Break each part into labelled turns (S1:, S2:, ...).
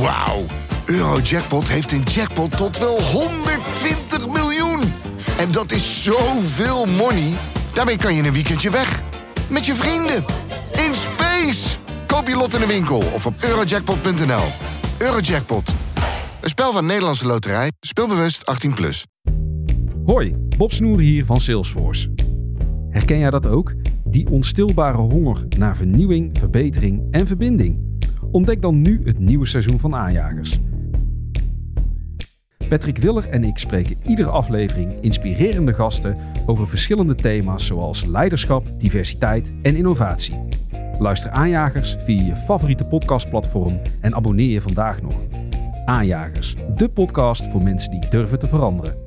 S1: Wauw. Eurojackpot heeft een jackpot tot wel 120 miljoen. En dat is zoveel money. Daarmee kan je in een weekendje weg. Met je vrienden. In space. Koop je lot in de winkel of op eurojackpot.nl. Eurojackpot. Een spel van Nederlandse Loterij. Speelbewust 18+. Plus.
S2: Hoi, Bob Snoer hier van Salesforce. Herken jij dat ook? Die onstilbare honger naar vernieuwing, verbetering en verbinding. Ontdek dan nu het nieuwe seizoen van Aanjagers. Patrick Willer en ik spreken iedere aflevering inspirerende gasten over verschillende thema's zoals leiderschap, diversiteit en innovatie. Luister Aanjagers via je favoriete podcastplatform en abonneer je vandaag nog. Aanjagers, de podcast voor mensen die durven te veranderen.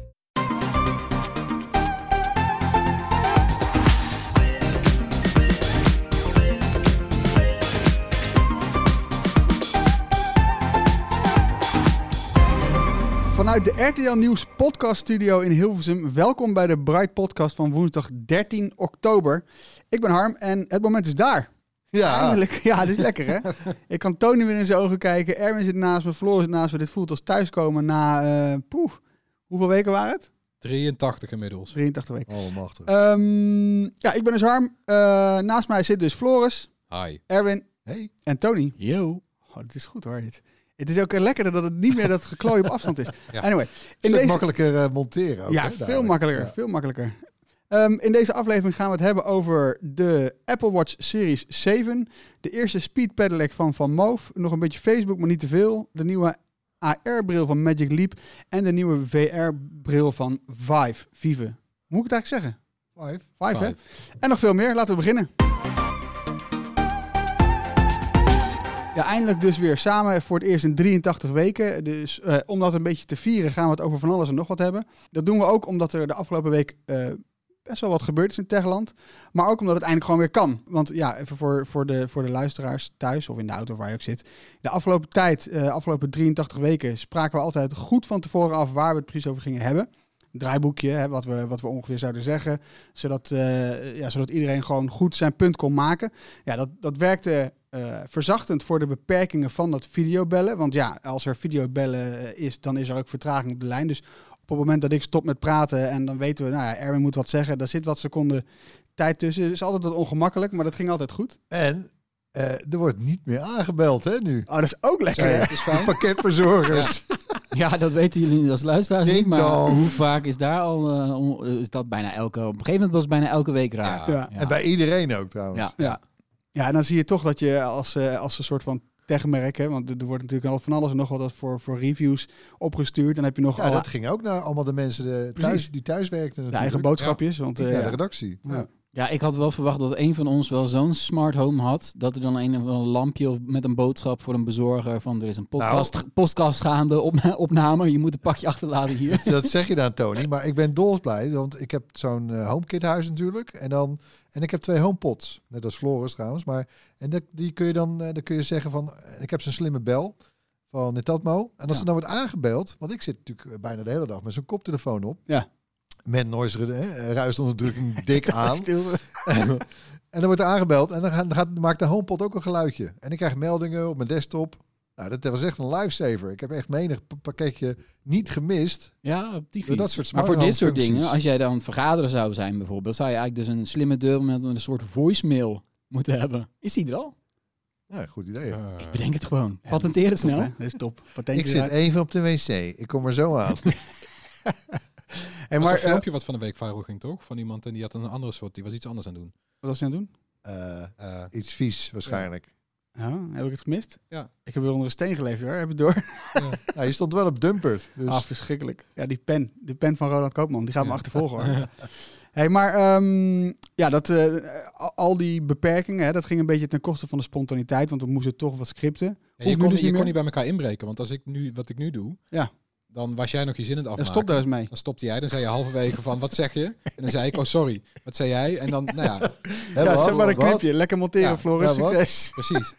S3: Vanuit de RTL Nieuws podcast studio in Hilversum. Welkom bij de Bright podcast van woensdag 13 oktober. Ik ben Harm en het moment is daar.
S4: Ja,
S3: Eindelijk. Ja, dit is lekker hè. Ik kan Tony weer in zijn ogen kijken. Erwin zit naast me, Floor zit naast me. Dit voelt als thuiskomen na, eh poeh, hoeveel weken waren het?
S4: 83 inmiddels.
S3: 83 weken.
S4: Allemachtig.
S3: Ehm, ja, ik ben dus Harm. Eh, naast mij zit dus Floris,
S4: Hi.
S3: Erwin
S4: Eh, Hey.
S3: en Tony.
S4: Yo.
S3: Oh, dit is goed hoor dit. Het is ook lekkerder dat het niet meer dat geklooi op afstand is.
S4: Ja.
S3: Anyway,
S4: In
S3: in deze,
S4: makkelijker eh, monteren. ook,
S3: ja,
S4: hè,
S3: veel
S4: dadelijk.
S3: makkelijker.
S4: Ja.
S3: Veel makkelijker. Ehm, in deze aflevering gaan we het hebben over de Apple Watch Series 7. De eerste speed pedelec van Van Moof. Nog een beetje Facebook, maar niet te veel. De nieuwe AR-bril van Magic Leap. En de nieuwe VR-bril van Vive. Vive. Hoe moet ik het eigenlijk zeggen?
S4: Vijf.
S3: Vijf, hè?
S4: Vijf.
S3: En nog veel meer. Laten we beginnen. Ja, eindelijk dus weer samen voor het eerst in 83 weken. Dus eh, om dat een beetje te vieren gaan we het over van alles en nog wat hebben. Dat doen we ook omdat er de afgelopen week eh, best wel wat gebeurd is in Techland. Maar ook omdat het eindelijk gewoon weer kan. Want ja, even voor, voor, de, voor de luisteraars thuis of in de auto waar je ook zit. De afgelopen tijd, eh afgelopen 83 weken, spraken we altijd goed van tevoren af waar we het precies over gingen hebben. Draaiboekje, hè, wat, we, wat we ongeveer zouden zeggen zodat, eh, ja, zodat iedereen gewoon goed zijn punt kon maken. Ja, dat, dat werkte eh, verzachtend voor de beperkingen van dat videobellen. Want ja, als er videobellen eh, is, dan is er ook vertraging op de lijn. Dus op het moment dat ik stop met praten en dan weten we, nou ja, Erwin moet wat zeggen. Daar zit wat seconden tijd tussen. Het is altijd wat ongemakkelijk, maar dat ging altijd goed.
S4: En eh, er wordt niet meer aangebeld, hè, nu.
S3: Oh, dat is ook lekker.
S4: Zij-
S3: hè?
S4: de pakketbezorgers.
S5: Ja, dat weten jullie niet als luisteraars
S4: Ding
S5: niet, maar
S4: dong.
S5: hoe vaak is daar al eh, om- is dat bijna elke op een gegeven moment was het bijna elke week raar.
S3: Ja.
S4: En bij iedereen ook, trouwens.
S5: Ja.
S3: Ja. ja, en dan zie je toch dat je als, eh, als een soort van techmerk, hè, want er er wordt natuurlijk al van alles en nog wat voor, voor reviews opgestuurd. Dan heb je nog
S4: Ja,
S3: alle
S4: dat ging ook naar allemaal de mensen eh, thuis, die thuis werkten
S3: de
S4: natuurlijk.
S3: eigen boodschapjes. Want,
S4: Ja,
S3: eh,
S4: de
S3: ja.
S4: redactie. Ja.
S3: Ja.
S5: Ja, ik had wel verwacht dat een van ons wel zo'n smart home had dat er dan een, een lampje of met een boodschap voor een bezorger van er is een
S4: Nou.
S5: podcast, podcast gaande op, opname, je moet een pakje achterlaten hier.
S4: Dat zeg je dan, Tony. Maar ik ben dolsblij, want ik heb zo'n eh, HomeKit-huis natuurlijk. En, dan, en ik heb twee HomePods. Net als Floris trouwens. Maar, en dat, die kun je dan, eh, dan kun je zeggen van... eh, Ik heb zo'n slimme bel van Netatmo. En als
S5: Ja.
S4: er dan wordt aangebeld... Want ik zit natuurlijk eh, bijna de hele dag met zo'n koptelefoon op.
S3: Ja.
S4: Met noise redu- eh, ruisonderdrukking dik aan.
S3: Stil.
S4: en dan wordt er aangebeld. En dan, gaat, dan gaat- maakt de HomePod ook een geluidje. En ik krijg meldingen op mijn desktop. Nou, dat was echt een lifesaver. Ik heb echt menig pa- pakketje niet gemist...
S5: Ja, op die
S4: Door dat
S5: fiets.
S4: soort
S5: Maar voor
S4: smart
S5: dit soort
S4: home
S5: dingen,
S4: functies.
S5: als jij dan aan het vergaderen zou zijn bijvoorbeeld, zou je eigenlijk dus een slimme deur met een soort voicemail moeten hebben. Is die er al?
S4: Ja, goed idee. hè?
S6: Eh,
S5: Ik bedenk het gewoon. Patenteer het
S3: Top,
S5: snel.
S3: hè? Dat is top. Patentje
S4: ik zit
S3: eruit.
S4: even op de wc. Ik kom er zo aan.
S3: Hey,
S6: Maar
S3: maar,
S6: een
S3: eh,
S6: filmpje wat van de week viral ging, toch? Van iemand en die had een andere soort, die was iets anders aan het doen.
S3: wat was je aan het doen?
S4: Eh,
S6: Eh,
S4: iets vies waarschijnlijk.
S3: Ja, heb ik het gemist?
S6: Ja.
S3: Ik heb weer onder een steen geleefd hoor. Heb je door?
S4: Nou, je stond wel op Dumpert. Dus
S3: Ah, verschrikkelijk. Ja, die pen. De pen van Ronald Koopman. Die gaat me
S6: Ja.
S3: achtervolgen hoor. hey, maar ehm, ja, dat, eh, al- al die beperkingen, hè, dat ging een beetje ten koste van de spontaniteit. Want we moesten toch wat scripten.
S6: en
S3: nu
S6: je kon,
S3: dus
S6: je
S3: niet meer?
S6: kon niet bij elkaar inbreken, want als ik nu wat ik nu doe,
S3: Ja.
S6: dan was jij nog je zin in het
S3: Dan
S6: afmaken.
S3: stop daar eens mee.
S6: Dan stopte jij, dan zei je halverwege van wat zeg je? En dan zei ik, oh sorry, wat zei jij? En dan, nou ja,
S4: hè,
S3: Ja,
S4: wat,
S3: zeg maar een
S4: wat, wat?
S3: knipje. Lekker monteren,
S6: Ja,
S3: Floris.
S4: ja, wat?
S3: Succes.
S6: precies.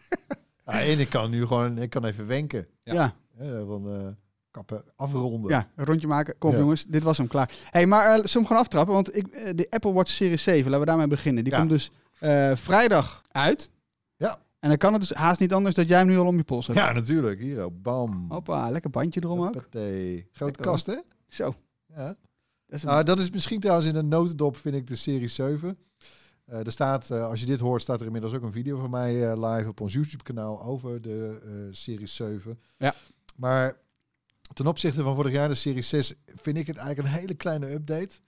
S4: Ah, en ik kan nu gewoon ik kan even wenken.
S6: Ja.
S3: ja.
S4: Hè, van eh, kappen afronden.
S3: Ja, een rondje maken. Kom op,
S4: Ja.
S3: jongens, dit was hem klaar. hey, maar eh, zullen we hem gaan aftrappen? Want ik, eh, de Apple Watch Series 7, laten we daarmee beginnen. Die
S4: Ja.
S3: komt dus eh, vrijdag uit.
S4: Ja.
S3: En dan kan het dus haast niet anders dat jij hem nu al om je pols hebt.
S4: Ja, natuurlijk. Hier, oh, bam.
S3: Hoppa, lekker bandje erom ook.
S4: Hoppatee. Grote
S3: Lekker,
S4: kast, hè?
S3: Zo.
S4: Ja.
S3: Dat is een-
S4: Nou, dat is misschien trouwens in een notendop, vind ik, de serie 7. Eh, er staat, eh, als je dit hoort, staat er inmiddels ook een video van mij eh, live op ons YouTube-kanaal over de eh, serie 7.
S3: Ja.
S4: Maar ten opzichte van vorig jaar, de serie 6, vind ik het eigenlijk een hele kleine update.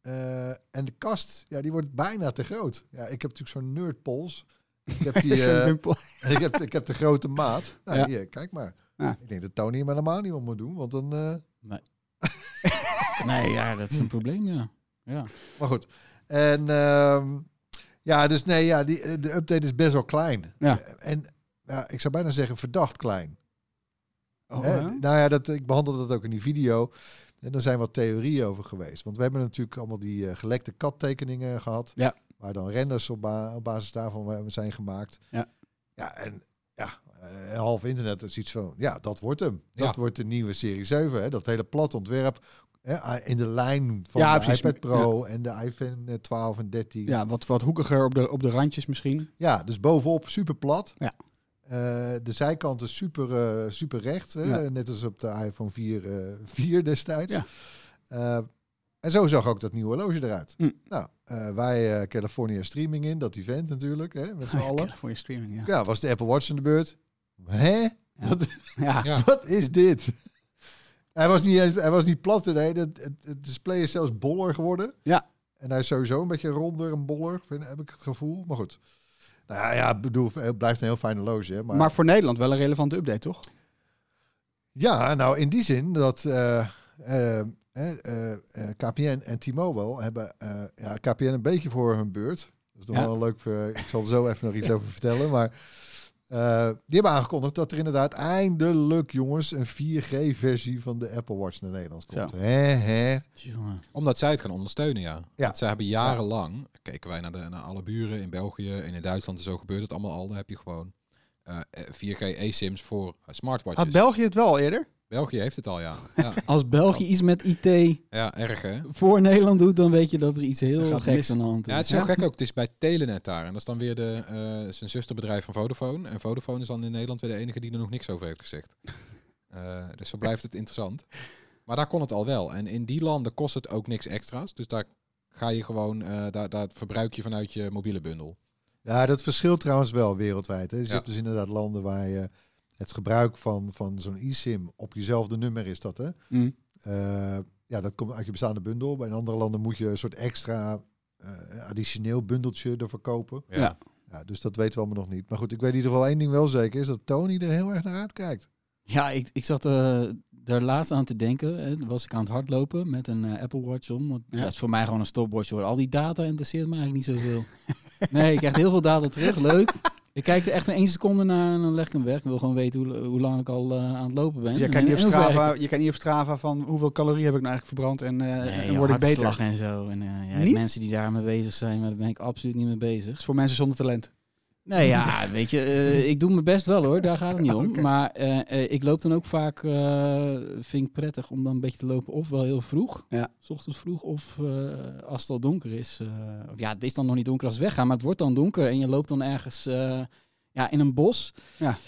S4: Eh, en de kast, ja, die wordt bijna te groot. Ja, ik heb natuurlijk zo'n nerdpols. Ik heb, die,
S3: dat is een
S4: eh,
S3: wimpel.
S4: en ik, heb, ik heb de grote maat. Nou,
S3: Ja.
S4: hier, kijk maar.
S3: Ja.
S4: Ik denk dat Tony hem helemaal niet om moet doen, want dan... eh,
S5: Nee, ja, dat is een probleem, ja. ja.
S4: Maar goed. En ehm, ja, dus nee, ja, die, eh, de update is best wel klein.
S3: Ja.
S4: Eh, En ja, ik zou bijna zeggen verdacht klein.
S3: Oh,
S4: Hè?
S3: ja?
S4: Nou ja, dat, ik behandelde dat ook in die video. En daar zijn wat theorieën over geweest. Want we hebben natuurlijk allemaal die eh, gelekte kattekeningen gehad.
S3: Ja.
S4: Waar dan renders op, ba- op basis daarvan eh, zijn gemaakt.
S3: Ja.
S4: Ja, en ja, eh, half internet is iets van, ja, dat wordt hem. Dat
S6: Ja.
S4: wordt de nieuwe Serie 7. Hè? Dat hele plat ontwerp. Hè? ah, In de lijn van
S3: Ja,
S4: de
S3: precies.
S4: iPad Pro en de iPhone eh, 12 en 13.
S3: Ja, wat, wat hoekiger op de, op de randjes misschien.
S4: Ja, dus bovenop super plat.
S3: Ja.
S4: Eh, de zijkanten super, eh, super recht. Hè?
S3: Ja.
S4: Net als op de iPhone 4, eh, 4 destijds.
S3: Ja.
S4: Eh, en zo zag ook dat nieuwe horloge eruit.
S3: Hm.
S4: Nou, eh, wij eh California Streaming in, dat event natuurlijk, hè, met z'n
S3: Ah,
S4: allen.
S3: Voor je streaming, ja.
S4: Ja, was de Apple Watch aan de beurt. Hè? Wat,
S3: Ja,
S6: Ja.
S4: wat is dit? Hij was niet, eens- hij was niet plat, nee. Dat, het, het display is zelfs boller geworden.
S3: Ja.
S4: En hij is sowieso een beetje ronder en boller, vind, heb ik het gevoel. Maar goed. Nou ja, ja, ik bedoel, het blijft een heel fijn horloge. Hè, maar,
S3: maar... voor Nederland wel een relevante update, toch?
S4: ja, nou in die zin dat eh, eh, eh, eh, eh, KPN en T-Mobile hebben eh, ja, KPN een beetje voor hun beurt. Dat is nog
S3: Ja.
S4: wel een leuk. eh, ik zal er zo even nog iets over vertellen. Maar eh, die hebben aangekondigd dat er inderdaad eindelijk, jongens, een 4G-versie van de Apple Watch naar Nederland komt.
S3: Zo.
S4: Hè, hè.
S5: Jongen.
S6: Omdat zij het gaan ondersteunen, ja.
S4: Ja.
S6: Want zij hebben jarenlang, keken wij naar, de, naar alle buren in België en in Duitsland en zo gebeurt het allemaal al. Dan heb je gewoon eh, eh, 4G eSIMs voor eh, smartwatches.
S3: Had België het wel eerder?
S6: België heeft het al, ja. Ja,
S5: Als België iets met IT
S6: ja erg hè.
S5: voor Nederland doet, dan weet je dat er iets
S3: Dat
S5: heel
S3: gaat
S5: geks
S3: mis.
S5: aan de hand is.
S6: Ja, het is heel gek ook. Het is bij Telenet daar. En dat is dan weer de, eh, zijn zusterbedrijf van Vodafone. En Vodafone is dan in Nederland weer de enige die er nog niks over heeft gezegd. Eh, dus zo blijft het interessant. Maar daar kon het al wel. En in die landen kost het ook niks extra's. Dus daar ga je gewoon, eh, daar, daar verbruik je vanuit je mobiele bundel.
S4: Ja, dat verschilt trouwens wel wereldwijd. Hè. Dus je
S6: Ja.
S4: hebt dus inderdaad landen waar je het gebruik van, van zo'n e-sim op jezelfde nummer is dat, hè?
S5: Mm.
S4: Eh, ja, dat komt uit je bestaande bundel. Bij in andere landen moet je een soort extra eh, additioneel bundeltje ervoor kopen.
S6: Ja.
S5: Ja.
S4: Ja, dus dat weten we allemaal nog niet. Maar goed, ik weet in ieder geval één ding wel zeker, is dat Tony er heel erg naar uitkijkt.
S5: Ja, ik, ik zat eh daar laatst aan te denken. Hè. Toen was ik aan het hardlopen met een eh, Apple Watch om. Want, ja. dat is voor mij gewoon een stopwatch hoor. Al die data interesseert me eigenlijk niet zoveel. nee, ik krijg heel veel data terug. Leuk. Ik kijk er echt in één seconde naar en dan leg ik hem weg. Ik wil gewoon weten hoe, hoe lang ik al eh, aan het lopen ben.
S3: Dus je
S5: En-
S3: kijkt niet, op
S5: en hoe ver ik-
S3: Strava- je kijkt niet op Strava van hoeveel calorieën heb ik nou eigenlijk verbrand en, eh,
S5: Nee,
S3: en word ik beter.
S5: hartslag en zo. En eh, ja,
S3: Niet?
S5: mensen die daarmee bezig zijn, maar daar ben ik absoluut niet mee bezig.
S3: Dat is voor mensen zonder talent.
S5: Nou ja, weet je, eh, ik doe mijn best wel hoor, daar gaat het niet om. Maar eh, eh, ik loop dan ook vaak, eh, vind ik prettig om dan een beetje te lopen, of wel heel vroeg,
S3: Ja.
S5: s ochtends vroeg, of eh, als het al donker is. eh, of ja, het is dan nog niet donker als we weggaan, maar het wordt dan donker en je loopt dan ergens eh, ja, in een bos
S3: Rondje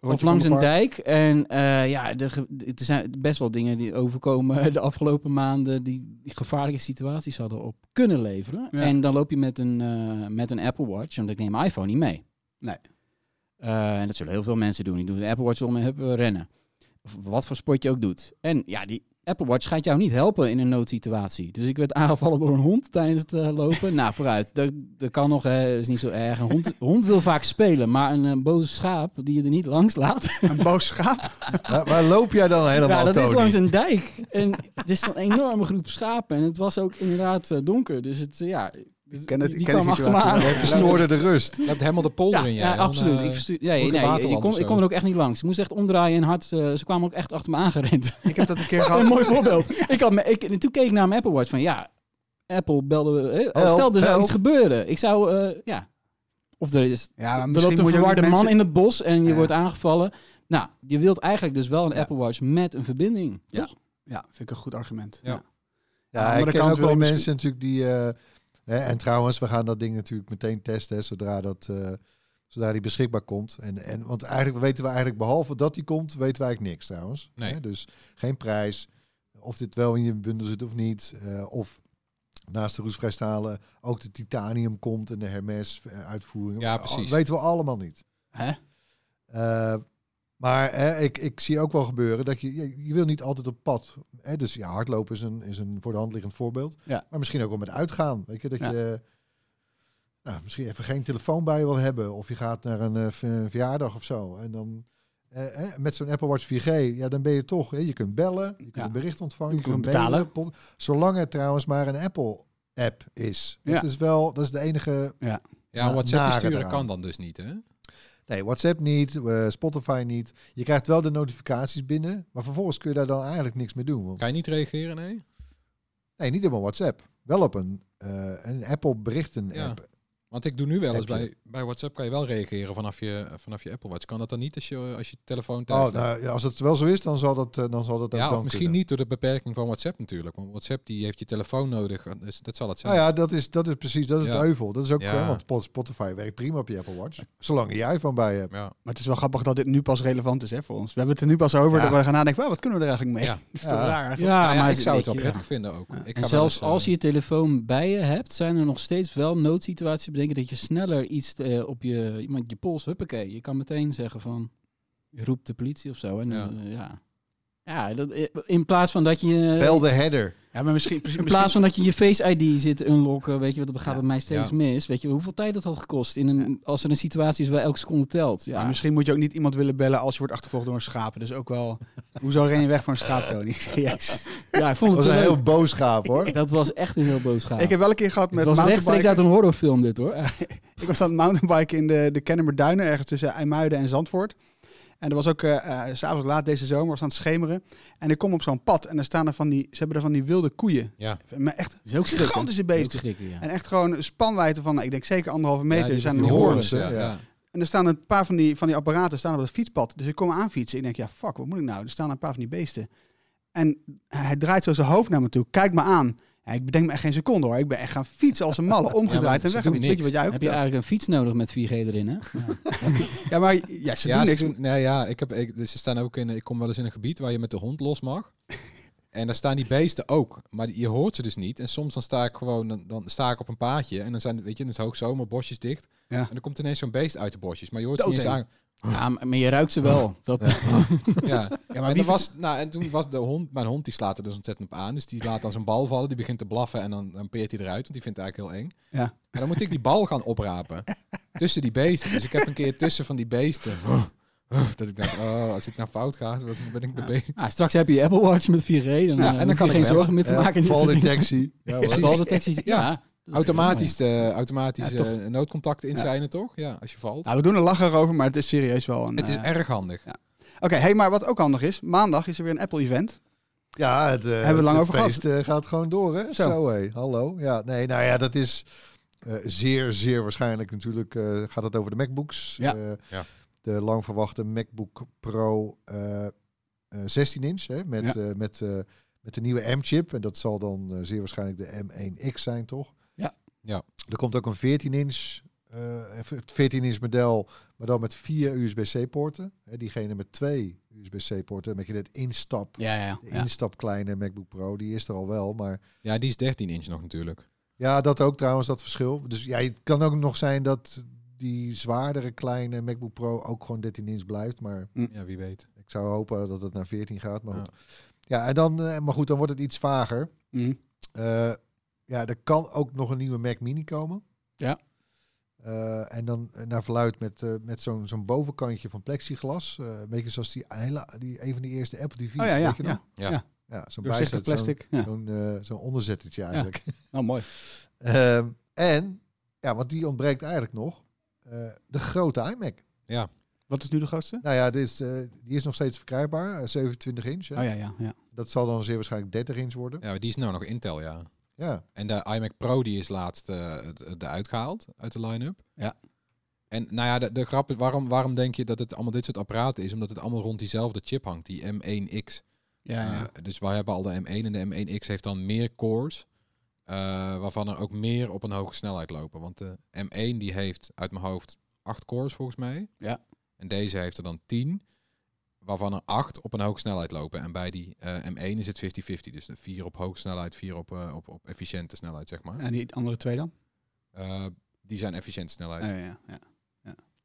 S5: of langs een
S3: van het
S5: dijk. En eh, ja, de ge- de- er zijn best wel dingen die overkomen de afgelopen maanden die die gevaarlijke situaties hadden op kunnen leveren.
S3: Ja.
S5: En dan loop je met een, eh, met een Apple Watch, want ik neem mijn iPhone niet mee.
S3: Nee.
S5: Eh, en dat zullen heel veel mensen doen. Die doen de Apple Watch om en hebben rennen. Of wat voor sport je ook doet. En ja, die Apple Watch gaat jou niet helpen in een noodsituatie. Dus ik werd aangevallen door een hond tijdens het eh, lopen. nou, vooruit. Dat, dat kan nog, hè, is niet zo erg. Een hond, hond wil vaak spelen, maar een eh, boze schaap die je er niet langs laat,
S3: park. Een boos schaap.
S4: waar, waar loop jij dan helemaal,
S5: ja, dat
S4: Tony?
S5: is langs een dijk. En het is dan een enorme groep schapen. En het was ook inderdaad eh, donker. Dus het, eh, ja,
S3: ken het-
S5: die
S3: ik ken
S5: kwam
S3: de
S5: achter me
S3: situatie
S5: aan.
S4: Jij verstoorde de rust.
S6: Je hebt helemaal de polder
S5: Ja,
S6: in eh, je.
S5: ja, absoluut. ik, verstu- ja,
S6: moet
S5: nee,
S6: ik
S5: je- je
S6: waterland
S5: kon,
S6: of
S5: ik
S6: zo?
S5: kon er ook echt niet langs. Ik moest echt omdraaien en hard. eh, ze kwamen ook echt achter me aangerend.
S3: Ik heb dat een keer
S5: een
S3: gehad.
S5: mooi voorbeeld. ik had me, ik, en toen keek ik naar mijn Apple Watch van ja, Apple belde. eh,
S4: Help,
S5: stel, er zou
S4: help.
S5: iets gebeuren. Ik zou, eh, ja. Of er is
S3: Ja, maar
S5: er loopt een
S3: moet je ook
S5: verwarde
S3: niet
S5: man
S3: mensen-
S5: in het bos en je
S3: Ja.
S5: wordt aangevallen. Nou, je wilt eigenlijk dus wel een
S3: Ja.
S5: Apple Watch met een verbinding.
S3: Ja.
S5: Ja.
S3: Ja, vind ik een goed argument.
S6: Ja.
S3: Ja.
S4: Ja,
S3: Aan de
S4: ik
S3: andere
S4: ken
S3: kant
S4: ook
S3: wil
S4: wel
S3: je
S4: mensen natuurlijk die... eh, hè, en trouwens, we gaan dat ding natuurlijk meteen testen, hè, zodra dat... eh, Zodra die beschikbaar komt. En, en, want eigenlijk weten we eigenlijk, behalve dat die komt, weten wij eigenlijk niks trouwens.
S6: Nee.
S4: Hè, Dus geen prijs, of dit wel in je bundel zit of niet. eh, of naast de roestvrijstalen ook de titanium komt en de Hermes eh, uitvoering.
S6: Ja,
S4: Al-
S6: precies.
S4: weten we allemaal niet.
S5: Hè?
S4: Eh, maar hè, ik, ik zie ook wel gebeuren dat je, je, je wil niet altijd op pad. Hè? Dus ja, hardlopen is een, is een voor de hand liggend voorbeeld.
S5: Ja.
S4: Maar misschien ook wel met uitgaan. Weet je, dat
S5: Ja.
S4: je nou, misschien even geen telefoon bij je wil hebben. Of je gaat naar een eh, ver- verjaardag of zo. En dan eh, hè, met zo'n Apple Watch 4G, ja, dan ben je toch. Hè? Je kunt bellen, je kunt
S5: Ja.
S4: een bericht ontvangen.
S5: Je kunt betalen.
S4: mailen, pod- zolang het trouwens maar een Apple app is.
S5: Ja.
S4: Dat is wel, dat is de enige
S6: Ja,
S4: Na-
S6: WhatsApp
S4: nare
S6: sturen
S4: eraan.
S6: kan dan dus niet, hè?
S4: Nee, WhatsApp niet, eh, Spotify niet. Je krijgt wel de notificaties binnen, maar vervolgens kun je daar dan eigenlijk niks mee doen. Want,
S6: Kan je niet reageren, nee?
S4: nee, niet op een WhatsApp. Wel op een, eh, een Apple berichten
S6: Ja.
S4: app.
S6: Want ik doe nu wel eens
S4: Heb je-
S6: bij, bij WhatsApp kan je wel reageren vanaf je, vanaf je Apple Watch. Kan dat dan niet als je, als je telefoon thuis
S4: Oh,
S6: ligt?
S4: nou, ja, als het wel zo is, dan zal dat, eh, dan zal dat ook
S6: Ja,
S4: dan
S6: of misschien
S4: kunnen.
S6: niet door de beperking van WhatsApp natuurlijk. Want WhatsApp die heeft je telefoon nodig. Dus dat zal het zijn.
S4: Nou ja, dat is, dat is precies, dat is
S6: Ja.
S4: de heuvel. Dat is ook,
S6: Ja.
S4: hè, want Spot- Spotify werkt prima op je Apple Watch. Zolang je je iPhone bij je hebt.
S6: ja.
S3: Maar het is wel grappig dat dit nu pas relevant is hè, voor ons. We hebben het er nu pas over
S4: Ja.
S3: dat we gaan nadenken, "Wauw, wat kunnen we er eigenlijk mee?
S6: Ja.
S3: Ja. dat is toch
S4: Ja.
S3: raar.
S5: Ja,
S6: Nou ja,
S5: maar
S6: ik zou het wel
S5: weet je,
S6: prettig
S5: ja.
S6: vinden ook. Ik ga
S5: En
S6: wel
S5: zelfs
S6: eens, eh,
S5: als je je telefoon bij je hebt, zijn er nog steeds wel noodsituaties bedenken dat je sneller iets eh, op je, iemand je pols, huppakee. Je kan meteen zeggen van, roep de politie of zo. En,
S6: Ja.
S5: ja. ja. Ja, dat, eh, in plaats van dat je...
S4: Bel de header.
S3: Ja, maar misschien... misschien,
S5: In plaats van dat je je Face ID zit te unlocken, weet je, wat dat gaat
S3: Ja.
S5: bij mij steeds
S6: Ja.
S5: mis. Weet je, hoeveel tijd dat had gekost in een, als er een situatie is waar elke seconde telt.
S3: Ja.
S5: Ja,
S3: misschien moet je ook niet iemand willen bellen als je wordt achtervolgd door een schaap. Dus ook wel, hoezo ren je weg voor een schaap, Tony? Yes.
S5: ja ik
S4: Dat
S5: vond het
S4: was een
S5: wel
S4: heel
S5: leuk.
S4: boos schaap, hoor.
S5: Dat was echt een heel boos schaap.
S3: Ik heb wel een keer gehad
S5: het
S3: met
S5: was rechtstreeks
S3: mountainbiken.
S5: uit een horrorfilm dit hoor. Ja.
S3: Ik was aan het mountainbiken in de, de Kennemerduinen, ergens tussen IJmuiden en Zandvoort. En er was ook, eh eh, s s'avonds laat deze zomer, was aan het schemeren. En ik kom op zo'n pad en daar staan er van die, ze hebben er van die wilde koeien.
S6: Ja.
S3: Maar echt
S5: is ook schrikken.
S3: gigantische
S5: Is ook
S3: beesten.
S5: schrikken, ja.
S3: En echt gewoon een spanwijdte van, nou, ik denk zeker anderhalve meter.
S6: die
S3: zijn
S6: van
S3: er
S6: die
S4: hoorns,
S3: hoorns.
S6: hoorns,
S4: hè?
S6: ja.
S4: Ja.
S6: Ja.
S3: En er staan een paar van die, van die apparaten staan op het fietspad. Dus ik kom aanfietsen. Ik denk, ja, fuck, wat moet ik nou? Er staan een paar van die beesten. En hij draait zo zijn hoofd naar me toe. Kijk me aan. Ja, ik bedenk me echt geen seconde hoor. Ik ben echt gaan fietsen als een malle. Omgedraaid
S6: ze
S3: en weg.
S6: doen
S3: Een beetje wat
S6: niks.
S3: jij ook
S5: Heb je
S3: vertelt.
S5: eigenlijk een fiets nodig met 4G erin, hè?
S3: Ja, maar ja, ze
S6: Ja,
S3: doen
S6: ze
S3: niks.
S6: doen- nee, ja, ik heb, ik, dus ze staan ook in, ik kom wel eens in een gebied waar je met de hond los mag. En daar staan die beesten ook, maar die- je hoort ze dus niet. En soms dan sta ik gewoon, dan, dan sta ik op een paadje en dan zijn, weet je, in het hoogzomer bosjes dicht.
S3: Ja.
S6: En dan komt ineens zo'n beest uit de bosjes, maar je hoort ze niet eens aan.
S3: Doodeng.
S5: Ja, maar maar je ruikt ze wel. Dat,
S6: Ja.
S3: maar
S6: en,
S3: wie
S6: dan was, nou, en toen was de hond, mijn hond die slaat er dus ontzettend op aan. Dus die laat dan zijn bal vallen, die begint te blaffen en dan, dan peert hij eruit, want die vindt het eigenlijk heel eng.
S3: Ja.
S6: En dan moet ik die bal gaan oprapen tussen die beesten. Dus ik heb een keer tussen van die beesten, dat ik dacht, oh, als dit nou fout gaat, wat ben ik mee bezig?
S5: Ah, straks heb je je Apple Watch met 4G. Dan, eh,
S6: dan
S5: hoef
S6: kan
S5: je
S6: ik bellen.
S5: geen zorgen meer te
S4: Ja,
S5: maken.
S4: valdetectie. Ja, hoor.
S5: Valdetectie. Ja.
S6: Ja.
S5: dat is
S6: Automatisch, eh automatisch
S3: Ja, toch.
S6: eh, noodcontacten in zijn toch? Ja, als je valt.
S3: Nou, we doen er lachen over, maar het is serieus wel een...
S6: het is
S3: eh,
S6: erg handig.
S3: ja. Oké, hey, maar wat ook handig is, maandag is er weer een Apple-event.
S4: Ja, het, eh,
S3: we lang
S4: het
S3: over gehad.
S4: feest eh, gaat gewoon door, hè?
S3: Zo.
S4: Zo, hé. Hallo. Ja, nee, nou ja, dat is eh, zeer, zeer waarschijnlijk natuurlijk. eh, gaat het over de MacBooks.
S3: Ja.
S4: Eh,
S6: Ja.
S4: De lang verwachte MacBook Pro eh, eh, 16 inch, hè? Met,
S3: Ja.
S4: eh, met, eh, met de nieuwe M-chip. En dat zal dan eh, zeer waarschijnlijk de M1X zijn, toch?
S3: Ja.
S6: Ja.
S4: Er komt ook een 14 inch... eh, het 14 inch model, maar dan met vier USB-C-poorten. Hè, diegene met twee USB-C-poorten, met je dat instap
S5: Ja, ja,
S4: de
S5: ja.
S4: instapkleine MacBook Pro, die is er al wel, maar
S6: Ja, die is 13 inch nog natuurlijk.
S4: ja, dat ook trouwens, dat verschil. Dus ja, het kan ook nog zijn dat die zwaardere kleine MacBook Pro ook gewoon 13 inch blijft, maar
S6: Ja, wie weet.
S4: ik zou hopen dat het naar 14 gaat. Maar
S6: Ja.
S4: goed, ja, en dan, eh, maar goed, dan wordt het iets vager.
S3: Mhm.
S4: Eh, ja, er kan ook nog een nieuwe Mac Mini komen.
S5: Ja.
S4: Eh, en dan eh, naar verluid met, eh, met zo'n zo'n bovenkantje van plexiglas. eh, een beetje zoals die, hele- die een van die eerste Apple TV's.
S3: Oh ja, ja,
S4: weet je nog?
S3: ja.
S4: ja
S3: Doorzichtig
S4: zo'n bijzet, zo'n
S3: plastic. Ja.
S4: zo'n, eh, zo'n onderzettertje eigenlijk.
S3: Nou, mooi.
S4: Ehm, en, ja, want die ontbreekt eigenlijk nog, eh, de grote iMac.
S3: Wat is nu de grootste?
S4: Nou ja, dit is, eh, die is nog steeds verkrijgbaar, eh, 27 inch. Hè?
S3: Oh ja, ja, ja.
S4: Dat zal dan zeer waarschijnlijk 30 inch worden.
S6: Ja, maar die is nou nog Intel, ja.
S4: Ja,
S6: En de iMac Pro die is laatst eh eruit gehaald uit de line-up.
S5: Ja.
S6: En nou ja, de, de grap is, waarom, waarom denk je dat het allemaal dit soort apparaten is? Omdat het allemaal rond diezelfde chip hangt, die M1X.
S3: Ja, ja.
S6: Eh, dus wij hebben al de M1 en de M1X heeft dan meer cores, eh, waarvan er ook meer op een hoge snelheid lopen. Want de M1 die heeft uit mijn hoofd acht cores volgens mij.
S5: Ja.
S6: En deze heeft er dan tien, waarvan er acht op een hoge snelheid lopen. En bij die eh, M1 is het 50-50. Dus de vier op hoge snelheid, vier op, eh, op, op efficiënte snelheid, zeg maar.
S3: En die andere twee dan? Oh,
S6: Eh, die zijn efficiënte snelheid.
S5: Ja, ja, ja.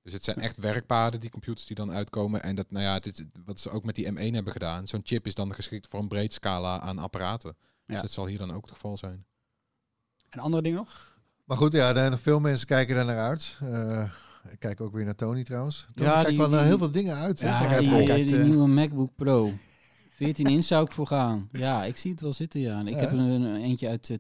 S6: Dus het zijn echt werkpaden, die computers die dan uitkomen. En dat, nou ja, het is, wat ze ook met die M1 hebben gedaan. Zo'n chip is dan geschikt voor een breed scala aan apparaten. Dus
S5: Ja.
S6: dat zal hier dan ook het geval zijn.
S3: En andere dingen nog?
S4: Maar goed, ja, er zijn nog veel mensen kijken daar naar uit. Eh, ik kijk ook weer naar Tony trouwens. Tony
S5: Ja,
S4: kijkt
S5: die-
S4: wel naar
S5: die-
S4: heel veel dingen uit. hè?
S5: Ja,
S4: Kijk,
S5: die,
S4: Apple.
S5: die,
S3: kijkt, eh.
S5: nieuwe MacBook Pro. 14 inch zou ik voor gaan. Ja, ik zie het wel zitten, ja. En Ik
S4: Ja,
S5: heb
S4: hè?
S5: een, een eentje uit eh,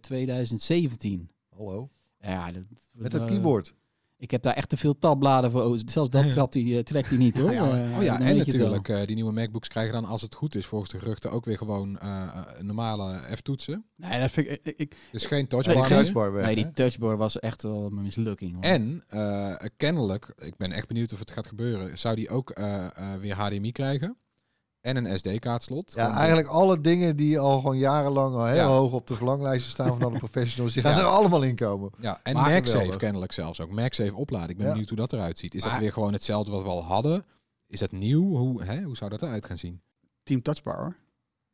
S5: 2017.
S4: Hallo.
S5: Ja, dat,
S4: Met
S5: eh,
S4: het keyboard.
S5: Ik heb daar echt te veel tabbladen voor. over. Zelfs dat trapt hij, eh, trekt hij niet, hoor.
S6: Ja,
S5: Eh,
S6: oh
S5: dan
S6: ja, en
S5: weet je het wel.
S6: natuurlijk, eh, die nieuwe MacBooks krijgen dan, als het goed is, volgens de geruchten ook weer gewoon eh, eh, normale F-toetsen.
S3: Nee, dat vind ik... ik, ik
S6: Dus geen
S4: Nee,
S6: touchbar
S4: die
S5: ik-
S6: meer.
S4: touchbar weg,
S5: Nee,
S4: hè?
S5: die touchbar was echt wel een mislukking. hoor.
S6: En eh, kennelijk, ik ben echt benieuwd of het gaat gebeuren, zou die ook eh, eh, weer HDMI krijgen en een SD-kaartslot.
S4: Ja, eigenlijk alle dingen die al gewoon jarenlang al heel
S6: Ja.
S4: hoog op de verlanglijsten staan van alle professionals, die gaan
S6: Ja.
S4: er allemaal in komen.
S6: Ja, en
S4: Maar
S6: MagSafe
S4: geweldig.
S6: kennelijk zelfs ook. MagSafe opladen. Ik ben
S4: Ja.
S6: benieuwd hoe dat eruit ziet. Is dat
S5: Maar-
S6: weer gewoon hetzelfde wat we al hadden? Is dat nieuw? Hoe, hè? hoe zou dat eruit gaan zien?
S3: team Touchbar hoor.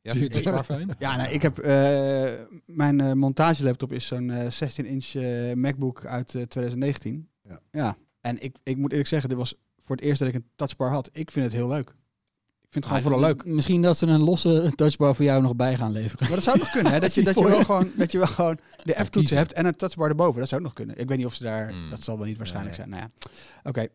S6: Ja, vind je het maar fijn?
S3: Ja, nou, ik heb... eh, mijn eh, montagelaptop is zo'n eh, 16-inch eh, MacBook uit eh, 2019.
S4: Ja.
S3: En ik, ik moet eerlijk zeggen, dit was voor het eerst dat ik een Touchbar had. Ik vind het heel leuk. Ik vind het gewoon
S5: Maar
S3: vooral leuk.
S5: d- Misschien dat ze een losse touchbar voor jou nog bij gaan leveren.
S3: Maar dat zou nog kunnen, hè? Dat je, dat je,
S5: Voor-
S3: wel, gewoon, dat je wel gewoon de
S6: Kan
S3: F-toetsen
S6: kiezen.
S3: hebt en een touchbar erboven. Dat zou ook nog kunnen. Ik weet niet of ze daar...
S6: Hmm.
S3: Dat zal wel niet waarschijnlijk
S4: Nee.
S3: zijn. Nou ja, oké.